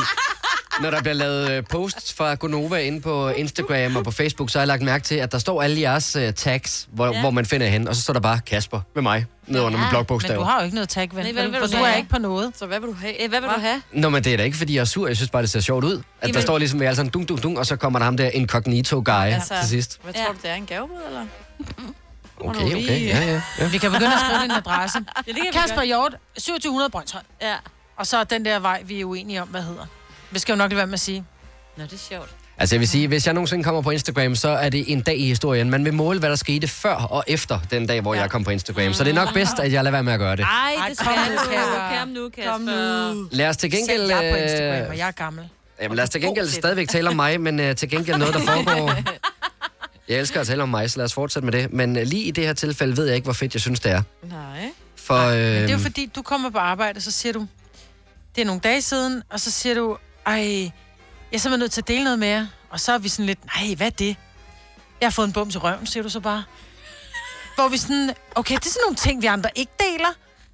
når der bliver lavet øh, posts fra Gonova inde på Instagram og på Facebook, så har jeg lagt mærke til, at der står alle jeres øh, tags, hvor,
Ja.
hvor man finder hen, og så står der bare Kasper med mig, ned under ja, med blokbogstaver.
Men du har jo ikke noget tag, ven,
Nej,
Nej,
hvad
vel,
vil
for
du
du
have?
er ikke på noget.
Så hvad vil du have?
Hvad vil du have?
Nå, men det er da ikke, fordi jeg er sur. Jeg synes bare, det ser sjovt ud. At Jamen. der
Jamen-
står ligesom, at vi alle sammen dung, dung, dung, og så kommer der ham der incognito guy altså. til sidst.
Hvad tror du, det er? En gavebud, eller?
Okay, okay. Ja, ja, ja.
Vi kan begynde at skrive din adresse.
Ja, det kan vi
Kasper
gøre.
Hjort, 2700 Brøndshøj.
Ja.
Og så den der vej, vi er uenige om, hvad hedder. Vi skal jo nok lade være med at sige.
Nå, det er sjovt.
Altså, jeg vil sige, hvis jeg nogensinde kommer på Instagram, så er det en dag i historien. Man vil måle, hvad der skete før og efter den dag, hvor ja. jeg kom på Instagram. Så det er nok bedst, at jeg lader være med at gøre det.
Ah,
Ej, det skal
kom nu,
du.
Kasper.
Kom nu, Kasper. Kom nu.
Lad os til gengæld...
Selv jeg er på Instagram,
øh,
og jeg er gammel.
Jamen, lad os til
god
gengæld
til det.
stadigvæk tale om mig, men øh, til gengæld noget, der foregår... Jeg elsker at tale om mig, så lad os fortsætte med det. Men øh, lige i det her tilfælde ved jeg ikke, hvor fedt jeg synes, det er.
Nej.
For, øh,
Men det er jo fordi, du kommer på arbejde, og så siger du, det er nogle dage siden, og så siger du, ej, jeg er simpelthen nødt til at dele noget med jer. Og så er vi sådan lidt, nej, hvad er det? Jeg har fået en bums i røven, siger du så bare. Hvor vi sådan, okay, det er sådan nogle ting, vi andre ikke deler.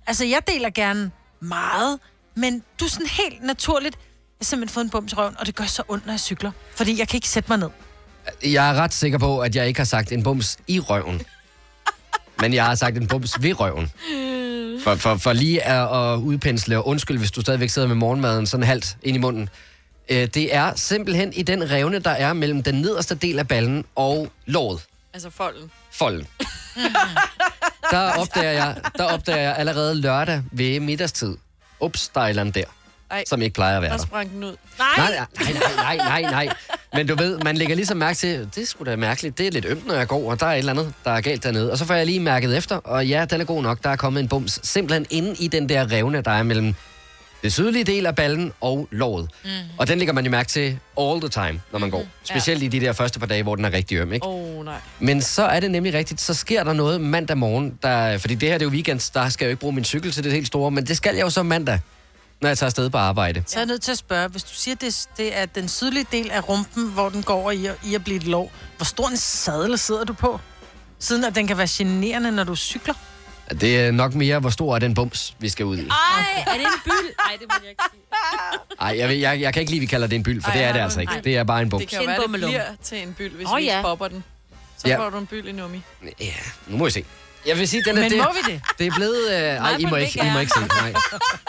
Altså, jeg deler gerne meget, men du er sådan helt naturligt, jeg har simpelthen fået en bums i røven, og det gør så ondt, når jeg cykler. Fordi jeg kan ikke sætte mig ned.
Jeg er ret sikker på, at jeg ikke har sagt en bums i røven. Men jeg har sagt en bums ved røven. For, for, for lige at, at udpensle, og undskyld, hvis du stadigvæk sidder med morgenmaden sådan halvt ind i munden. Øh, Det er simpelthen i den revne, der er mellem den nederste del af ballen og låret.
Altså folden.
Folden. Der opdager, jeg, der opdager jeg allerede lørdag ved middagstid. Ups, der er et eller andet der,
Ej.
som ikke plejer at
Der
være der.
sprang den ud.
Nej, nej, nej, nej, nej, nej. Men du ved, man lægger ligesom mærke til, det skulle da mærkeligt, det er lidt ømt, når jeg går, og der er et eller andet, der er galt dernede. Og så får jeg lige mærket efter, og ja, den er god nok, der er kommet en bums, simpelthen inde i den der revne, der er mellem det sydlige del af ballen og låret. Mm. Og den lægger man jo mærke til all the time, når man går. Specielt ja. i de der første par dage, hvor den er rigtig øm, ikke?
Åh, oh, nej.
Men så er det nemlig rigtigt, så sker der noget mandag morgen, der, fordi det her det er jo weekend, der skal jeg jo ikke bruge min cykel til det helt store, men det skal jeg jo så mandag, når jeg tager afsted på arbejde.
Så er jeg nødt til at spørge, hvis du siger, det, det er den sydlige del af rumpen, hvor den går over i, at- i at blive et lov, hvor stor en sadel sidder du på? Siden at den kan være generende, når du cykler.
Det er nok mere, hvor stor er den bums, vi skal ud i.
Ej, er det en byld? Nej, det må jeg ikke sige.
Ej, jeg, ved- jeg, jeg kan ikke lide, vi kalder det en byld, for det er det altså ikke. Det er bare en bums.
Det kan jo være, det bliver til en byld, hvis
Åh,
oh, vi
ja.
ja. popper den. Så
Ja.
ja. får du en byld i nummi.
Ja, nu må vi se. Jeg vil sige, den er...
Men
det,
må vi det?
Det er blevet... Øh, ej, I må,
vil
ikke,
ikke
I må
gerne.
ikke se det. Nej.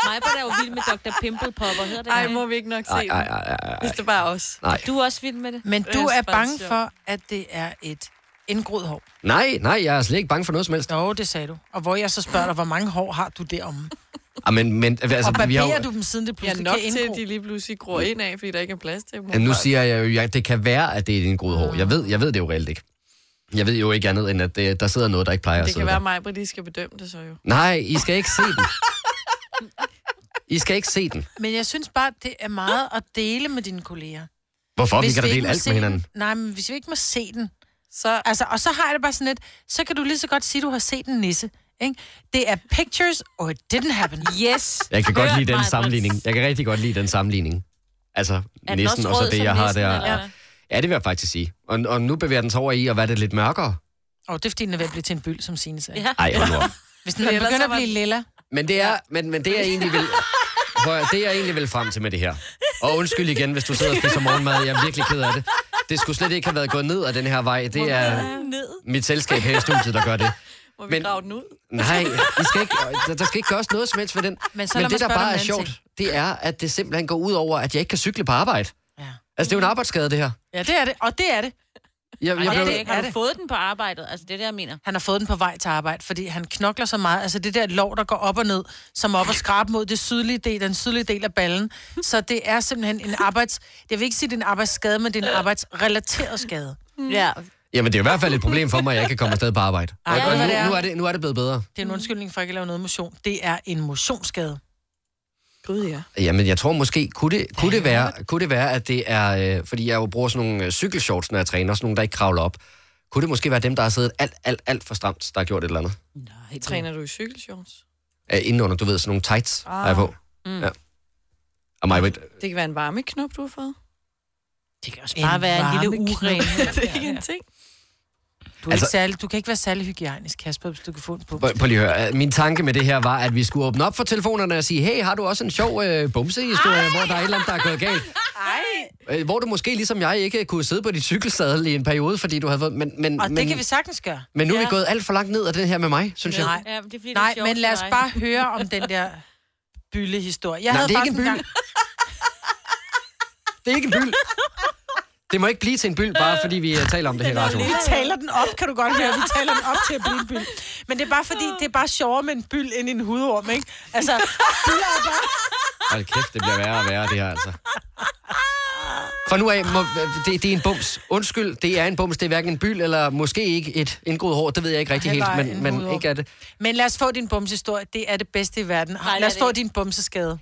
Mig var der jo vild med Dr. Pimple Popper, hedder det
Ej,
ikke?
må vi ikke nok se
Ej, ej, ej, ej, ej.
Hvis det bare er os.
Nej.
Du er også vild med det.
Men du
Det
er
er
bange
sjovt.
for, at det er et indgroet hår.
nej, nej, jeg er slet ikke bange for noget som helst.
Jo, det sagde du. Og hvor jeg så spørger dig, hvor mange hår har du deromme?
Ah, men, men,
Altså,
altså,
og
vi har,
barberer
jo-
du dem, siden det
Ja,
pludselig
nok
kan
til,
indgro?
at de lige pludselig gror ind af, fordi der ikke er plads til dem.
Ja, nu siger jeg jo, at det kan være, at det er din gode hår. Jeg ved, jeg ved det jo reelt ikke. Jeg ved jo ikke andet, end at det, der sidder noget, der ikke plejer at
Det
sidde
kan være
der.
mig, Britt, de skal bedømme det så jo.
Nej, I skal ikke se den. I skal ikke se den.
Men jeg synes bare, det er meget at dele med dine kolleger.
Hvorfor? Vi
Hvis
kan da
ikke
dele
må
alt
se
med hinanden.
Den, nej, men hvis vi ikke må se den, så... Altså, og så har jeg det bare sådan lidt, så kan du lige så godt sige, at du har set en nisse. Ikke? Det er pictures, or it didn't happen.
Yes.
Jeg kan godt lide den sammenligning. Jeg kan rigtig godt lide den sammenligning. Altså,
den
næsten
også
og så
rød
det,
som
jeg har
nissen,
der.
eller hvad?
Ja, det vil jeg faktisk sige. Og, og nu bevæger den sig over i at være det lidt mørkere.
Og det er fordi, den er ved at blive til en byld, som Signe sagde.
Ja.
Ej, hold nu op.
Hvis den begynder at blive lilla.
Men det er, men, men det er egentlig vil... Prøv, at- det er jeg egentlig vil frem til med det her. Og undskyld igen, hvis du sidder og spiser morgenmad. Jeg er virkelig ked af det. Det skulle slet ikke have været gået ned ad den her vej. Det er mit selskab her i studiet, der gør det.
Må vi
Men-
men... grave den ud?
Nej, I skal ikke, der, der skal ikke gøres noget som helst ved den.
Men
Men,
så lad
Men
mig
det, der
spørge dig
bare
om
er
en anden
sjovt, det er, at det simpelthen går ud over, at jeg ikke kan cykle på arbejde. Ja. Altså, det er jo en arbejdsskade, det her.
Ja, det er det, og det er det.
Jeg,
Ej,
jeg
det er
blev,
det ikke. Har du fået den på arbejdet? Altså, det er det, jeg mener.
Han har fået den på vej til arbejde, fordi han knokler så meget. Altså det der lov, der går op og ned, som er op og skrab mod det sydlige del, den sydlige del af ballen. Så det er simpelthen en arbejds... Jeg vil ikke sige, det er en arbejdsskade, men det er en arbejdsrelateret skade.
Ja.
Jamen, det er i hvert fald et problem for mig, at jeg ikke kan komme afsted på arbejde.
Ej,
Og,
ved
og
du,
nu,
hvad det er?
nu, er det, nu er det blevet bedre.
Det er en undskyldning for ikke at lave noget motion. Det er en motionsskade.
Gud, ja.
Jamen, jeg tror måske, kunne det, kunne det, være, kunne det være, at det er... Øh, fordi jeg jo bruger sådan nogle øh, cykelshorts, når jeg træner, sådan nogle, der ikke kravler op. Kunne det måske være dem, der har siddet alt, alt, alt for stramt, der har gjort et eller andet?
Træner du i cykelshorts?
Æ, indenunder, du ved, sådan nogle tights ah. har jeg på.
Mm.
Ja. Og mig, ved,
Det kan være en varmeknop, du har fået.
Det kan også
bare være en lille urenhed.
det er ikke en ting.
Du, er
Altså-
ikke særlig, du kan ikke være særlig hygiejnisk, Kasper, hvis du kan få en bums.
Prøv, prøv lige at høre. Øh, Min tanke med det her var, at vi skulle åbne op for telefonerne og sige, hey, har du også en sjov øh, bumsehistorie, hvor der er et eller andet, der er gået galt? Ej. Øh, hvor du måske, ligesom jeg, ikke kunne sidde på dit cykelsadel i en periode, fordi du havde fået... Men, men,
Og
men,
det kan vi sagtens gøre.
men nu er vi gået alt for langt ned af den her med mig, synes jeg.
Nej,
Ja, men det er fordi, det er
Nej
sjovt
men lad os
for dig.
bare høre om den der byllehistorie. Jeg
Nej,
havde
det er ikke
faktisk
en
engang-
Det er ikke en byld. Det må ikke blive til en byld, bare fordi vi øh, taler om det her i radioen.
Vi taler den op, kan du godt høre. Vi taler den op til at blive en byld. Men det er bare fordi, det er bare sjovere med en byld end en hudorm, ikke? Altså, byller er bare...
Hold kæft, det bliver værre og værre, det her altså. For nu af, må, øh, det, det er en bums. Undskyld, det er en bums. Det er hverken en byld eller måske ikke et indgroet hår. Det ved jeg ikke rigtig helt,
Heller en
men, men
hudorm.
ikke er det.
Men lad os få din bumsehistorie. Det er det bedste i verden. lad
Nej, det
os
er
få
det
din bumseskade.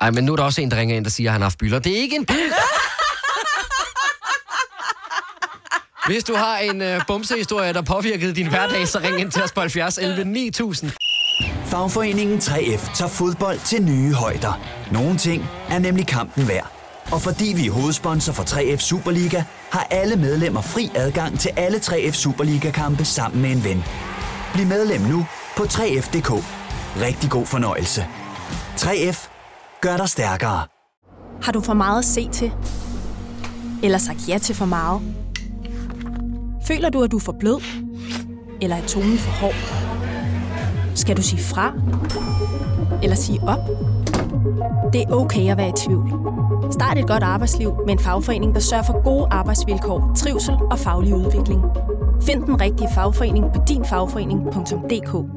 Ej, men nu er der også en, der ringer ind, der siger, at han har haft bylder. Det er ikke en byld. Hvis du har en øh, bumsehistorie, der påvirkede din hverdag, så ring ind til os på 70 11 9000.
Fagforeningen 3F tager fodbold til nye højder. Nogle ting er nemlig kampen værd. Og fordi vi er hovedsponsor for 3F Superliga, har alle medlemmer fri adgang til alle 3F Superliga-kampe sammen med en ven. Bliv medlem nu på 3F.dk. Rigtig god fornøjelse. 3F gør dig stærkere.
Har du for meget at se til? Eller sagt ja til for meget? Føler du, at du er for blød? Eller er tonen for hård? Skal du sige fra? Eller sige op? Det er okay at være i tvivl. Start et godt arbejdsliv med en fagforening, der sørger for gode arbejdsvilkår, trivsel og faglig udvikling. Find den rigtige fagforening på dinfagforening.dk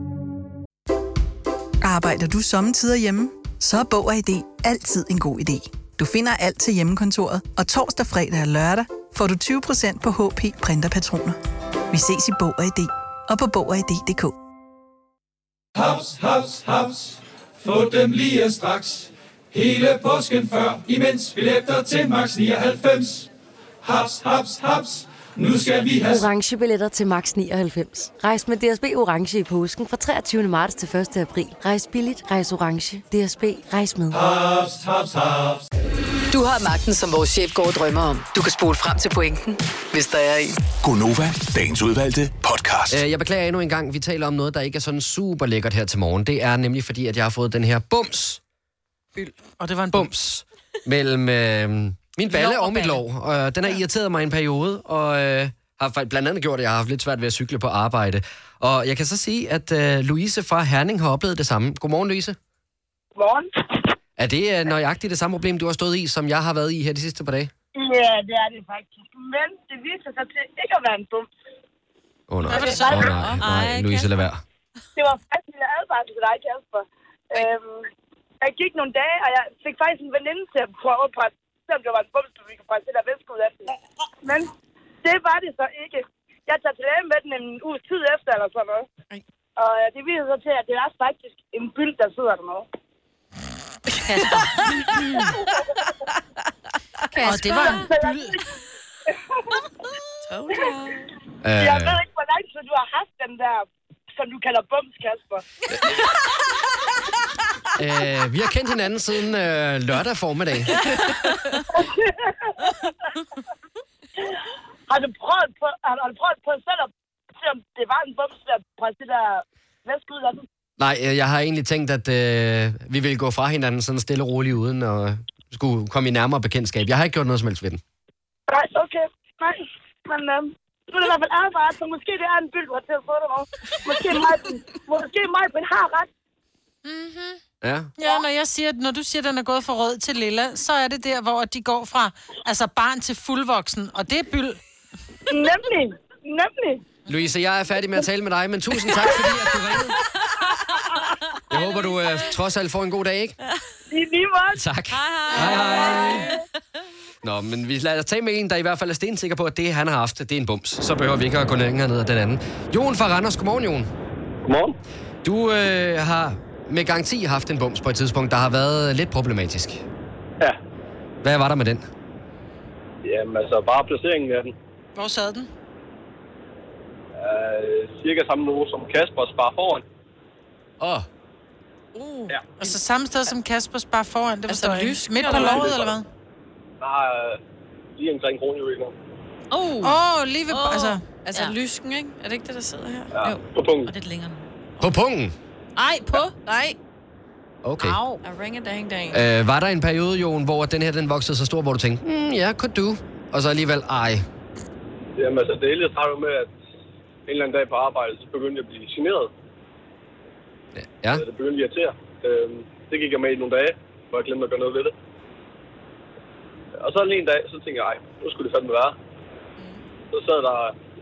Arbejder du sommetider hjemme? Så er Bog og ID altid en god idé. Du finder alt til hjemmekontoret, og torsdag, fredag og lørdag får du 20% på HP Printerpatroner. Vi ses i Bog og ID og på Bog og ID.dk.
Haps, haps, haps. Få dem lige straks. Hele påsken før, imens billetter til max 99. Haps, haps, haps. Nu skal vi have...
Orange billetter til max 99. Rejs med DSB Orange i påsken fra 23. marts til 1. april. Rejs billigt, rejs orange. DSB, rejs med.
Haps, haps, haps.
Du har magten, som vores chef går og drømmer om. Du kan spole frem til pointen, hvis der er en.
Gonova, dagens udvalgte podcast.
Øh, Jeg beklager endnu en gang, vi taler om noget, der ikke er sådan super lækkert her til morgen. Det er nemlig fordi, at jeg har fået den her bums.
Og det var en
bums. Mellem øh, min balle
Lov
og,
og
mit lov. Og den har irriteret mig en periode, og øh, har fakt- blandt andet gjort, at jeg har haft lidt svært ved at cykle på arbejde. Og jeg kan så sige, at øh, Louise fra Herning har oplevet det samme. Godmorgen, Louise.
Godmorgen.
Er det øh, nøjagtigt det samme problem, du har stået i, som jeg har været i her de sidste par dage?
Ja, det er det faktisk. Men det viser sig til ikke at være en bums.
Åh oh, nej.
Hvad var det så?
Åh oh, nej.
Ej,
nej, Louise, lad være.
Det var faktisk en lille advarsel til dig, Kasper. Øhm, jeg gik nogle dage, og jeg fik faktisk en veninde til at prøve at presse, selvom det var en bums, vi kunne presse det der væske ud af den. Men det var det så ikke. Jeg tager til læge med den en uges tid efter, eller sådan noget. Og øh, det viser sig til, at det er faktisk en byld, der sidder dernede.
Og det var en
byld. Jeg ved ikke, hvor lang tid du har haft den der, som du kalder bums, Kasper.
Øh, vi har kendt hinanden siden øh, lørdag formiddag.
har, du prøvet på, har, har du prøvet på selv at se, om det var en bums, der presse det der væske ud af den?
Nej, øh, jeg har egentlig tænkt, at øh, vi ville gå fra hinanden sådan stille og roligt, uden at skulle komme i nærmere bekendtskab. Jeg har ikke gjort noget som helst ved den.
Nej, okay. Nej, men øhm, nu er det i hvert fald advaret, så måske det er en byld, du har til at få det over. Måske mig, måske mig, men har ret.
Mm-hmm.
Ja.
Ja, når, jeg siger, når du siger, at den er gået fra rød til lilla, så er det der, hvor de går fra altså barn til fuldvoksen, og det er byld.
Nemlig, nemlig.
Louise, jeg er færdig med at tale med dig, men tusind tak, fordi at du ringede. Jeg håber, du øh, trods alt får en god dag, ikke?
I lige måde.
Tak. Hej, hej. Nå, men vi lader os tage med en, der i hvert fald er stensikker på, at det, han har haft, det er en bums. Så behøver vi ikke at gå længere ned ad den anden. Jon fra Randers, godmorgen, Jon.
Godmorgen.
Du øh, har med garanti haft en bums på et tidspunkt, der har været lidt problematisk.
Ja.
Hvad var der med den?
Jamen altså, bare placeringen af den.
Hvor sad den?
Øh, cirka samme niveau som Kaspers bare foran.
Åh. Oh.
Uh. Ja. Altså samme sted som Kaspers bare foran, det var
Altså,
altså,
lysk.
Midt på låret, eller hvad?
Bare øh, lige omkring kronjuvelen.
Åh, oh. oh, lige ved... Oh. Altså,
Altså ja. lysken, ikke? Er det ikke det, der sidder her?
Ja, på punkten.
Og lidt længere nu.
På pungen?
Ej, på? Nej.
Okay.
Au. A ring a dang dang.
Øh, var der en periode, Jon, hvor den her den voksede så stor, hvor du tænkte, mm, ja, yeah, could do. Og så alligevel, ej.
Jamen altså, det hele startede med, at en eller anden dag på arbejde, så begyndte jeg at blive generet.
Ja.
Så det begyndte at irritere. Øh, det gik jeg med i nogle dage, hvor jeg glemte at gøre noget ved det. Og så lige en dag, så tænkte jeg, ej, nu skulle det fandme være.
Mm.
Så sad der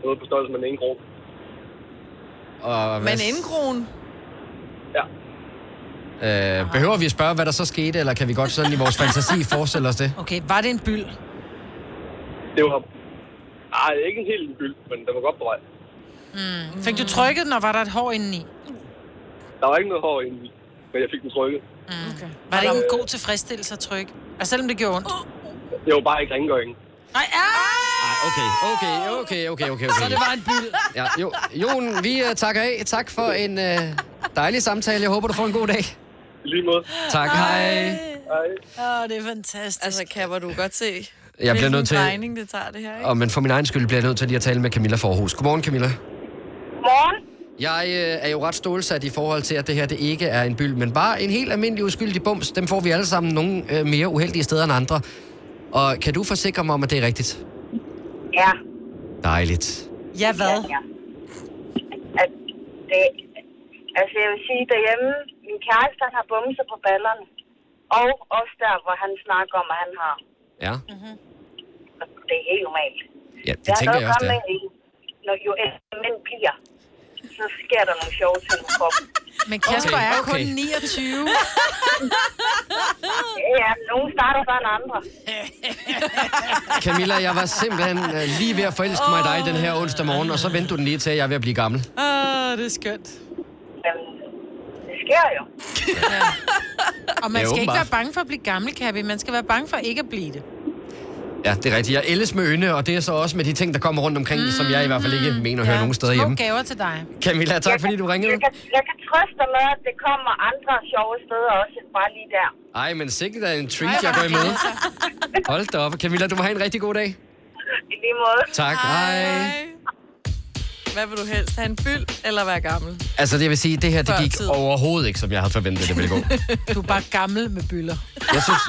noget på størrelse med en ene krone.
Og hvad,
Men indgroen.
øh, behøver vi at spørge, hvad der så skete, eller kan vi godt sådan i vores fantasi forestille os det?
Okay, var det en byld?
Det var... Ej, ikke en helt byld, men den var godt på vej.
Mm. Fik du trykket den, og var der et hår indeni?
Der var ikke noget hår i, men jeg fik den trykket.
Okay. Mm. Var det ikke en god tilfredsstillelse at trykke? Og selvom det gjorde ondt?
Det var bare ikke rengøringen.
Nej,
Ej, okay, okay, okay, okay, okay. okay.
Så det var en byld.
Ja, jo, Jon, vi uh, takker af. Tak øh, for en uh, dejlig samtale. Jeg håber, du får en god dag.
Lige måde.
Tak, hej.
Åh, det er fantastisk.
Altså, kan hvor du godt se, jeg
bliver nødt til-
regning det tager det her, ikke?
Og men for min egen skyld bliver jeg nødt til lige at tale med Camilla Forhus. Godmorgen, Camilla.
Morgen.
Jeg øh, er jo ret stålsat i forhold til, at det her det ikke er en byld, men bare en helt almindelig uskyldig bums. Dem får vi alle sammen nogle øh, mere uheldige steder end andre. Og kan du forsikre mig om, at det er rigtigt?
Ja.
Dejligt.
Ja, hvad?
Ja, ja. At det, Øh, altså, jeg vil sige, derhjemme, min kæreste, han har bumser på ballerne. Og også der, hvor han snakker om, at han har.
Ja.
Mm-hmm. Det er helt normalt.
Ja, det tænker jeg også, det er.
det Når jo ældre mænd bliver, så sker der nogle sjove ting med kroppen.
Men Kasper Okay, er kun okay. 29.
ja, nogen starter før end andre.
Camilla, jeg var simpelthen øh, lige ved at forelske mig i dig den her onsdag morgen, og så venter du den lige til, at jeg er ved at blive gammel.
Ah,
Åh, det er skønt.
Det sker jo.
Og
Ja,
man skal ikke
åbenbart.
være bange for at blive gammel, Kabi. Man skal være bange for ikke at blive det.
Ja, det er rigtigt. Jeg ældes med ynde, og det er så også med de ting, der kommer rundt omkring, mm, som jeg i hvert fald ikke mener at høre nogen steder
Små
hjemme.
gaver til dig.
Camilla, tak fordi du ringede.
Jeg kan, jeg kan trøste dig med, at det kommer andre sjove steder også, end bare lige der.
Ej, men sikkert er en treat, jeg går imod.
altså.
Hold da op. Camilla, du må have en rigtig god dag.
I lige måde.
Tak. Hej.
Hvad vil du helst? Have en byld eller være gammel?
Altså, det vil sige, det her det
Før
gik
tid.
overhovedet ikke, som jeg havde forventet, det ville gå.
Du er bare gammel med byller.
Jeg synes,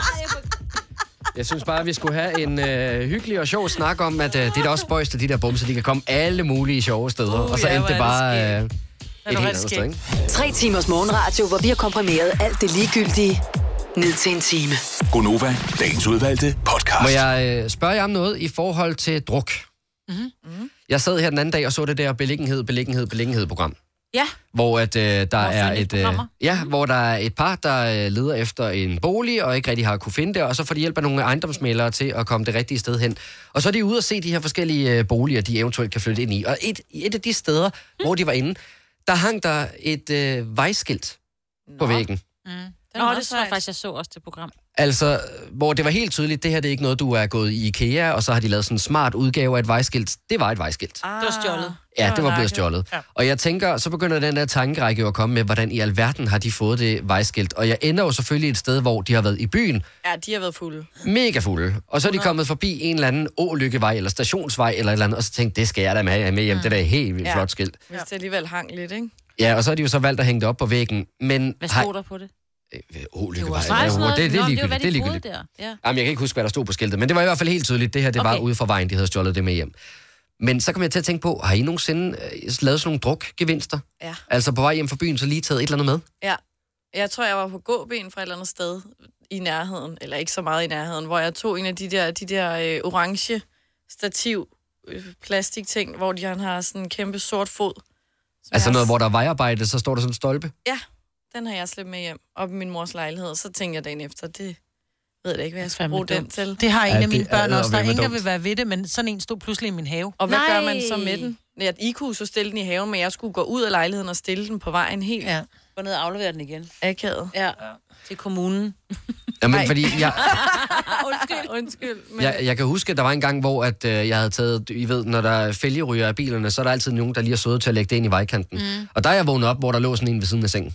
jeg synes bare, at vi skulle have en øh, hyggelig og sjov snak om, at øh, det er da også spøjst, at de der bumser, de kan komme alle mulige sjove steder. Uh, og så
ja,
endte det
hvor er
bare
det
øh, et
er
helt andet
ret
sted, ikke?
Tre timers morgenradio, hvor vi har komprimeret alt det ligegyldige ned til en time.
Gonova, dagens udvalgte podcast.
Må jeg øh, spørge jer om noget i forhold til druk? Mm-hmm. Jeg sad her den anden dag og så det der beliggenhed, beliggenhed, beliggenhed program.
Ja.
Mm.
hvor at øh, der er
finde
et øh,
programmer.
ja, hvor der er et par der øh, leder efter en bolig og ikke rigtig har kunne finde det, og så får de hjælp af nogle ejendomsmælere til at komme det rigtige sted hen. Og så er de ude og se de her forskellige øh, boliger, de eventuelt kan flytte ind i. Og et et af de steder, mm. hvor de var inde, der hang der et øh, vejskilt Nå. på væggen.
Nå, det tror jeg faktisk, jeg så også det program.
Altså, hvor det var helt tydeligt, det her det er ikke noget, du er gået i IKEA, og så har de lavet sådan en smart udgave af et vejskilt. Det var et vejskilt.
Ah, det var stjålet.
Ja, det var blevet stjålet. Ja. Og jeg tænker, så begynder den der tankerække jo at komme med, hvordan i alverden har de fået det vejskilt. Og jeg ender jo selvfølgelig et sted, hvor de har været i byen,
Ja, de har været fulde.
mega fulde. Og så er de kommet forbi en eller anden ålykkevej eller stationsvej eller et eller andet, og så tænkte, det skal jeg da med, have med hjem. Det er da et helt vildt
Ja.
flot skilt.
Hvis det alligevel hang lidt, ikke?
Ja, og så har de jo så valgt at hænge det op på væggen. Men
Hvad
har-
stod der på det?
Ålykkevej.
Faktisk
Ja,
noget-
det, det,
Nå,
er
jo,
ligegyldigt.
hvad
Det er
de boede
ligegyldigt.
der. Ja.
Jamen, jeg kan ikke huske, hvad der stod på skiltet, men det var i hvert fald helt tydeligt, det her, det okay. var ude for vejen, de havde stjålet det med hjem. Men så kom jeg til at tænke på, har I nogensinde øh, lavet sådan nogle drukgevinster?
Ja.
Altså på vej hjem fra byen, så lige taget et eller andet med?
Ja. Jeg tror, jeg var på gåben fra et eller andet sted i nærheden, eller ikke så meget i nærheden, hvor jeg tog en af de der, de der øh, orange stativ øh, plastikting, hvor de han har sådan en kæmpe sort fod.
Altså noget, hvor der er vejarbejde, så står der sådan en stolpe?
Ja, den har jeg slæbt med hjem op i min mors lejlighed. Så tænkte jeg dagen efter, det ved jeg da ikke, hvad jeg skal bruge den til.
Det har en
ja,
af mine
det er
børn også. Der er
eddermame
ingen, der
dumt.
vil være ved det, men sådan en stod pludselig i min have.
Og hvad Nej. gør man så med den? Ja, I kunne så stille den i haven, men jeg skulle gå ud af lejligheden og stille den på vejen helt.
Ja.
Gå ned og aflevere den igen.
Akavet.
Ja, til kommunen.
Jamen,
Nej.
fordi jeg,
undskyld, undskyld. Men...
jeg, jeg kan huske, at der var en gang, hvor at, øh, jeg havde taget, I ved, når der er fælgeryger af bilerne, så er der altid nogen, der lige er søde til at lægge det ind i vejkanten. Mm. Og der er jeg vågnet op, hvor der lå sådan en ved siden af sengen.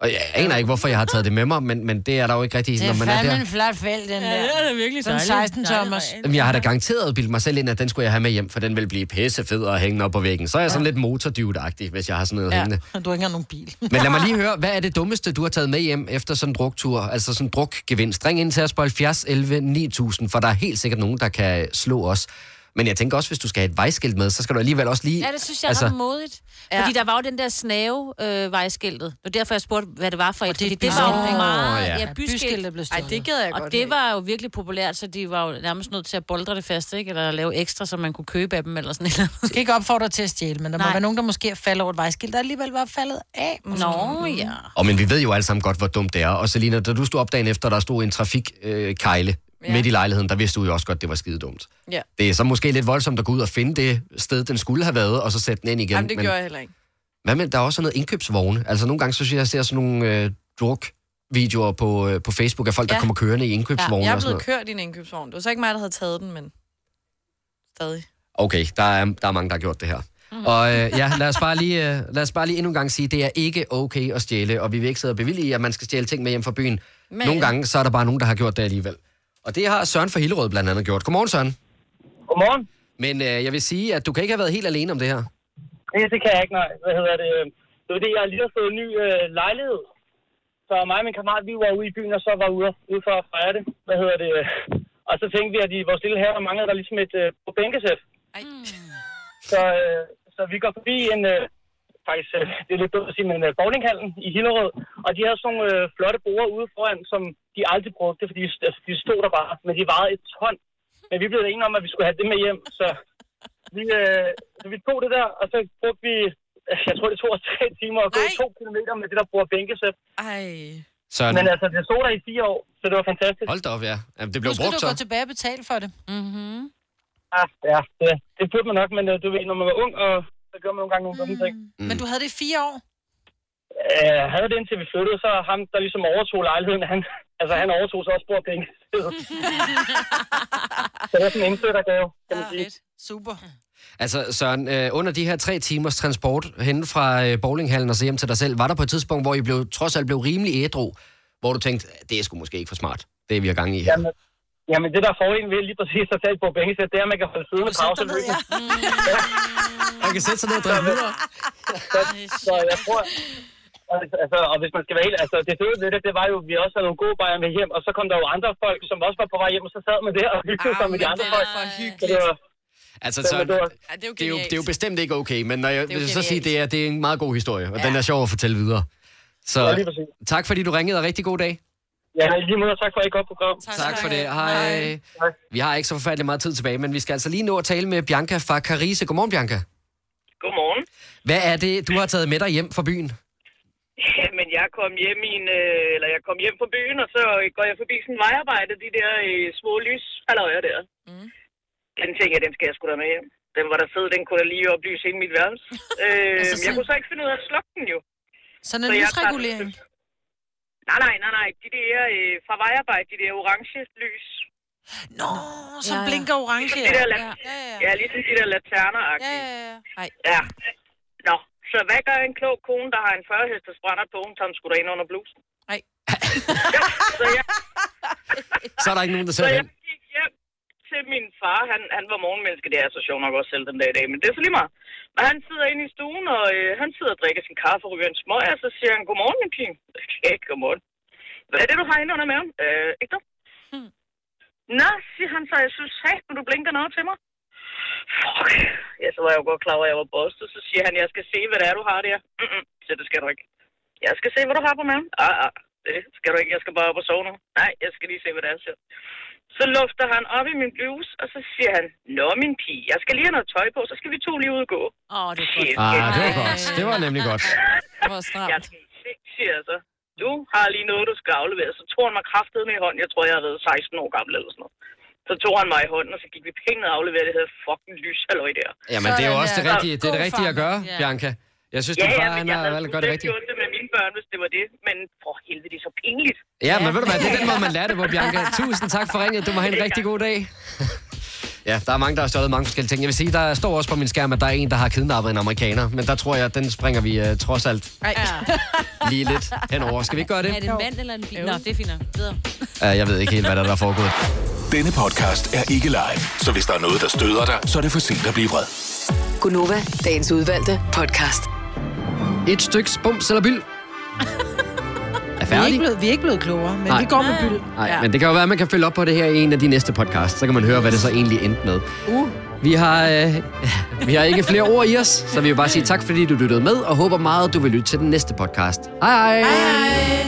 Og jeg aner ikke, hvorfor jeg har taget det med mig, men, men det er der jo ikke rigtigt,
Det
når
er
man er der.
fandme en flot fæld, den der.
Ja, det er da virkelig
Sådan
dejligt.
16 tommers.
Jamen, jeg har da garanteret bildt mig selv ind, at den skulle jeg have med hjem, for den ville blive pissefed og hænge op på væggen. Så er jeg sådan lidt motordyvet hvis jeg har sådan noget ja. hængende.
Du har ikke engang nogen bil.
Men lad mig lige høre, hvad er det dummeste, du har taget med hjem efter sådan en druktur? Altså sådan en drukgevinst. Ring ind til os på 70 11 9000, for der er helt sikkert nogen, der kan slå os. Men jeg tænker også, hvis du skal have et vejskilt med, så skal du alligevel også lige...
Ja, det synes jeg altså, er ret modigt. Ja. Fordi der var jo den der snave øh, vejskiltet. Det var derfor, jeg spurgte, hvad det var for et. Det, fordi det var jo
byskilt.
meget...
Nå, ja.
Ja,
Ja, byskiltet blev stjålet. Ej, det gad jeg
og
godt
det
have.
var jo virkelig populært, så de var jo nærmest nødt til at boldre det fast, ikke? Eller lave ekstra, så man kunne købe af dem, eller sådan noget.
Jeg skal ikke opfordre til at stjæle, men der Nej. må være nogen, der måske er faldet over et vejskilt, der alligevel var faldet af.
Nå, ja.
Og men vi ved jo alle sammen godt, hvor dumt det er. Og Selina, da du stod op dagen efter, der stod en trafikkejle øh, kejle
Ja.
midt i lejligheden, der vidste du jo også godt, det var skide dumt.
Ja.
Det er så måske lidt voldsomt at gå ud og finde det sted, den skulle have været, og så sætte den ind igen.
Jamen, det
men,
gjorde jeg heller ikke.
Hvad med, der er også noget indkøbsvogne. Altså nogle gange, så synes jeg, jeg ser sådan nogle øh, druk videoer på, øh, på Facebook af folk, ja. der
Ja.
kommer kørende i indkøbsvogne
Ja, jeg
og
er
sådan
blevet
noget.
kørt i en indkøbsvogn. Det var så ikke mig, der havde taget den, men stadig.
Okay, der er, der er mange, der har gjort det her. Mm. Og øh, ja, lad os, bare lige, øh, lad os bare lige endnu en gang sige, det er ikke okay at stjæle, og vi vil ikke sidde og bevillige, at man skal stjæle ting med hjem fra byen. Men... Nogle gange, så er der bare nogen, der har gjort det alligevel. Og det har Søren fra Hillerød blandt andet gjort. Godmorgen, Søren.
Godmorgen.
Men øh, jeg vil sige, at du kan ikke have været helt alene om det her.
Nej, det kan jeg ikke, nej. Hvad hedder det? øh, Det var det, jeg lige har fået en ny øh, lejlighed. Så mig og min kammerat, vi var ude i byen, og så var ude, ude for at fejre det. Hvad hedder det? øh, Og så tænkte vi, at i vores lille have manglede der ligesom et øh, bænkesæt.
Mm.
Så, øh, så vi går forbi en, øh, faktisk, øh, det er lidt dumt at sige, men øh, bowlinghallen i Hillerød. Og de havde sådan nogle øh, flotte borer ude foran, som de aldrig brugte, fordi altså, de stod der bare. Men de vejede et ton. Men vi blev da enige om, at vi skulle have det med hjem, så vi, øh, så vi tog det der, og så brugte vi, jeg tror det tog os tre timer at gå to kilometer med det der bruger bænkesæt. Ej.
Søren.
Men altså, det stod der i fire år, så det var fantastisk.
Hold da op, ja. Jamen, det
Nu
blev
skal
brugt
du gå
så.
tilbage og betale for det. Mm-hmm.
Ja, Ah, ja det, det burde man nok, men øh, du ved, når man var ung, og så gør man nogle gange nogle dumme ting.
Mm. Men du havde det i fire år?
Øh, Jeg havde det indtil vi flyttede, så ham, der ligesom overtog lejligheden, han, altså han overtog så også bordbænkesæt. så det er sådan en indflyttergave, kan man sige.
Super.
Altså, Søren, øh, under de her tre timers transport hen fra øh, bowlinghallen og så hjem til dig selv, var der på et tidspunkt, hvor I blev, trods alt blev rimelig ædru, hvor du tænkte, det er sgu måske ikke for smart, det vi har gang i her.
Jamen, jamen, det der er fordelen ved lige præcis at tage på bængesæt, det er, at man kan holde siden med pause. Ja.
Man kan sætte sig ned og drikke videre.
så, så jeg tror... Altså, og hvis man skal være helt... Altså, det fede ved det, det var jo, at vi også havde nogle gode bajer med hjem, og så kom der jo andre folk, som også var på vej hjem, og så sad man der og hyggede sig med de andre folk. Så det var,
Altså,
det var-
Søren,
det var-
det, er jo det, er jo, det er jo bestemt ikke okay, men når jeg
Det er jo
vil så sige,
genialt.
det er, det er en meget god historie, og ja. den er sjov at fortælle videre. Så
Ja,
ja,
lige præcis.
tak, fordi du ringede, og rigtig god dag.
Ja, i lige måde, tak for et godt program.
Tak, tak for det. Hej. Vi har ikke så forfærdelig meget tid tilbage, men vi skal altså lige nå at tale med Bianca fra Carise. Godmorgen, Bianca.
Godmorgen.
Hvad er det, du har taget med dig hjem fra byen?
Jamen, jeg kom hjem i en, øh, eller jeg kom hjem fra byen, og så går jeg forbi sådan en vejarbejde, de der øh, små lys, halløjer der. Mm. Den tænker jeg, den skal jeg sgu da med hjem. Den var der fed, den kunne da lige oplyse hele mit værelse. øh,
Altså
jeg
sådan-
kunne så ikke finde ud af at slukke den jo.
Sådan en
Så jeg tager-
lysregulering.
Nej, nej, nej, nej. De der øh, fra vejarbejde, de der orange lys.
Nå, som
ja.
blinker orange.
Ligesom de der, ja. Ja, ja, ja. ja, ligesom de der laterner ja, ja, ja. ja. Nå, så hvad gør en klog kone, der har en 40 hestes brænder på, hun tager den sgu da ind under blusen? Nej. så jeg,
Så er der ikke nogen, der ser
Så
den.
jeg gik hjem til min far. Han, han var morgenmenneske. Det er så sjovt nok også selv den dag i dag, men det er så lige meget. Men han sidder inde i stuen, og øh, han sidder og drikker sin kaffe og ryger en smøg, og så siger han, godmorgen, min pige. Ikke godmorgen. Hvad er det, du har inde under maven? Øh, ikke dog. Nå, siger han så, jeg synes, hey, du blinker noget til mig. Fuck. Ja, så var jeg jo godt klar over, at jeg var bostet. Så siger han, jeg skal se, hvad det er, du har der. Mm-mm. Så det skal du ikke. Jeg skal se, hvad du har på maven. Ah, ah, det skal du ikke. Jeg skal bare op og sove nu. Nej, jeg skal lige se, hvad det er, siger. Så lufter han op i min bluse, og så siger han, Nå, min pige, jeg skal lige have noget tøj på, så skal vi to lige ud og gå. Åh, oh, det er godt.
Ah, det var godt. Det var nemlig godt.
Det var stramt. Jeg er sick, siger jeg så. altså. Du har lige noget, du skal aflevere. Så tog han mig kraftedeme i hånden. Jeg tror, jeg har været 16 år gammel eller sådan noget. Så tog han mig i hånden, og så gik vi pænt ned og afleverede det her fucking lyshalløj der.
Jamen, det er jo også det
Sådan
rigtige, det, er det
der.
rigtige at gøre, Bianca. Jeg synes, din far,
men
han
jeg
har
havde
valgt at
sgu
gøre det
selv
rigtigt.
gjort det med mine børn, hvis det var det. Men for helvede, det er så pinligt.
Ja, men ved du hvad, det er den måde, man lærer det på, Bianca. Tusind tak for ringet. Du må have en rigtig god dag. Ja, der er mange, der har stjålet mange forskellige ting. Jeg vil sige, der står også på min skærm, at der er en, der har kidnappet en amerikaner. Men der tror jeg, at den springer vi uh, trods alt
Ej.
lige lidt henover. Skal vi ikke gøre det?
Er det en mand eller en bil? Nå, det er fint. nok. Videre.
Uh, jeg ved ikke helt, hvad der er, der er foregået.
Denne podcast er ikke live, så hvis der er noget, der støder dig, så er det for sent at blive vred.
Gunova, dagens udvalgte podcast.
Et styks bums eller byld. Er
Vi er, ikke
færdig?
blevet, vi er ikke blevet klogere, men
Nej.
Nej. vi går med byld.
Nej, men det kan jo være, at man kan følge op på det her i en af de næste podcasts. Så kan man høre, hvad det så egentlig endte med.
Uh.
Vi har, øh, vi har ikke flere ord i os, så vi vil bare sige tak, fordi du lyttede med, og håber meget, du vil lytte til den næste podcast. Hej hej! hej, hej.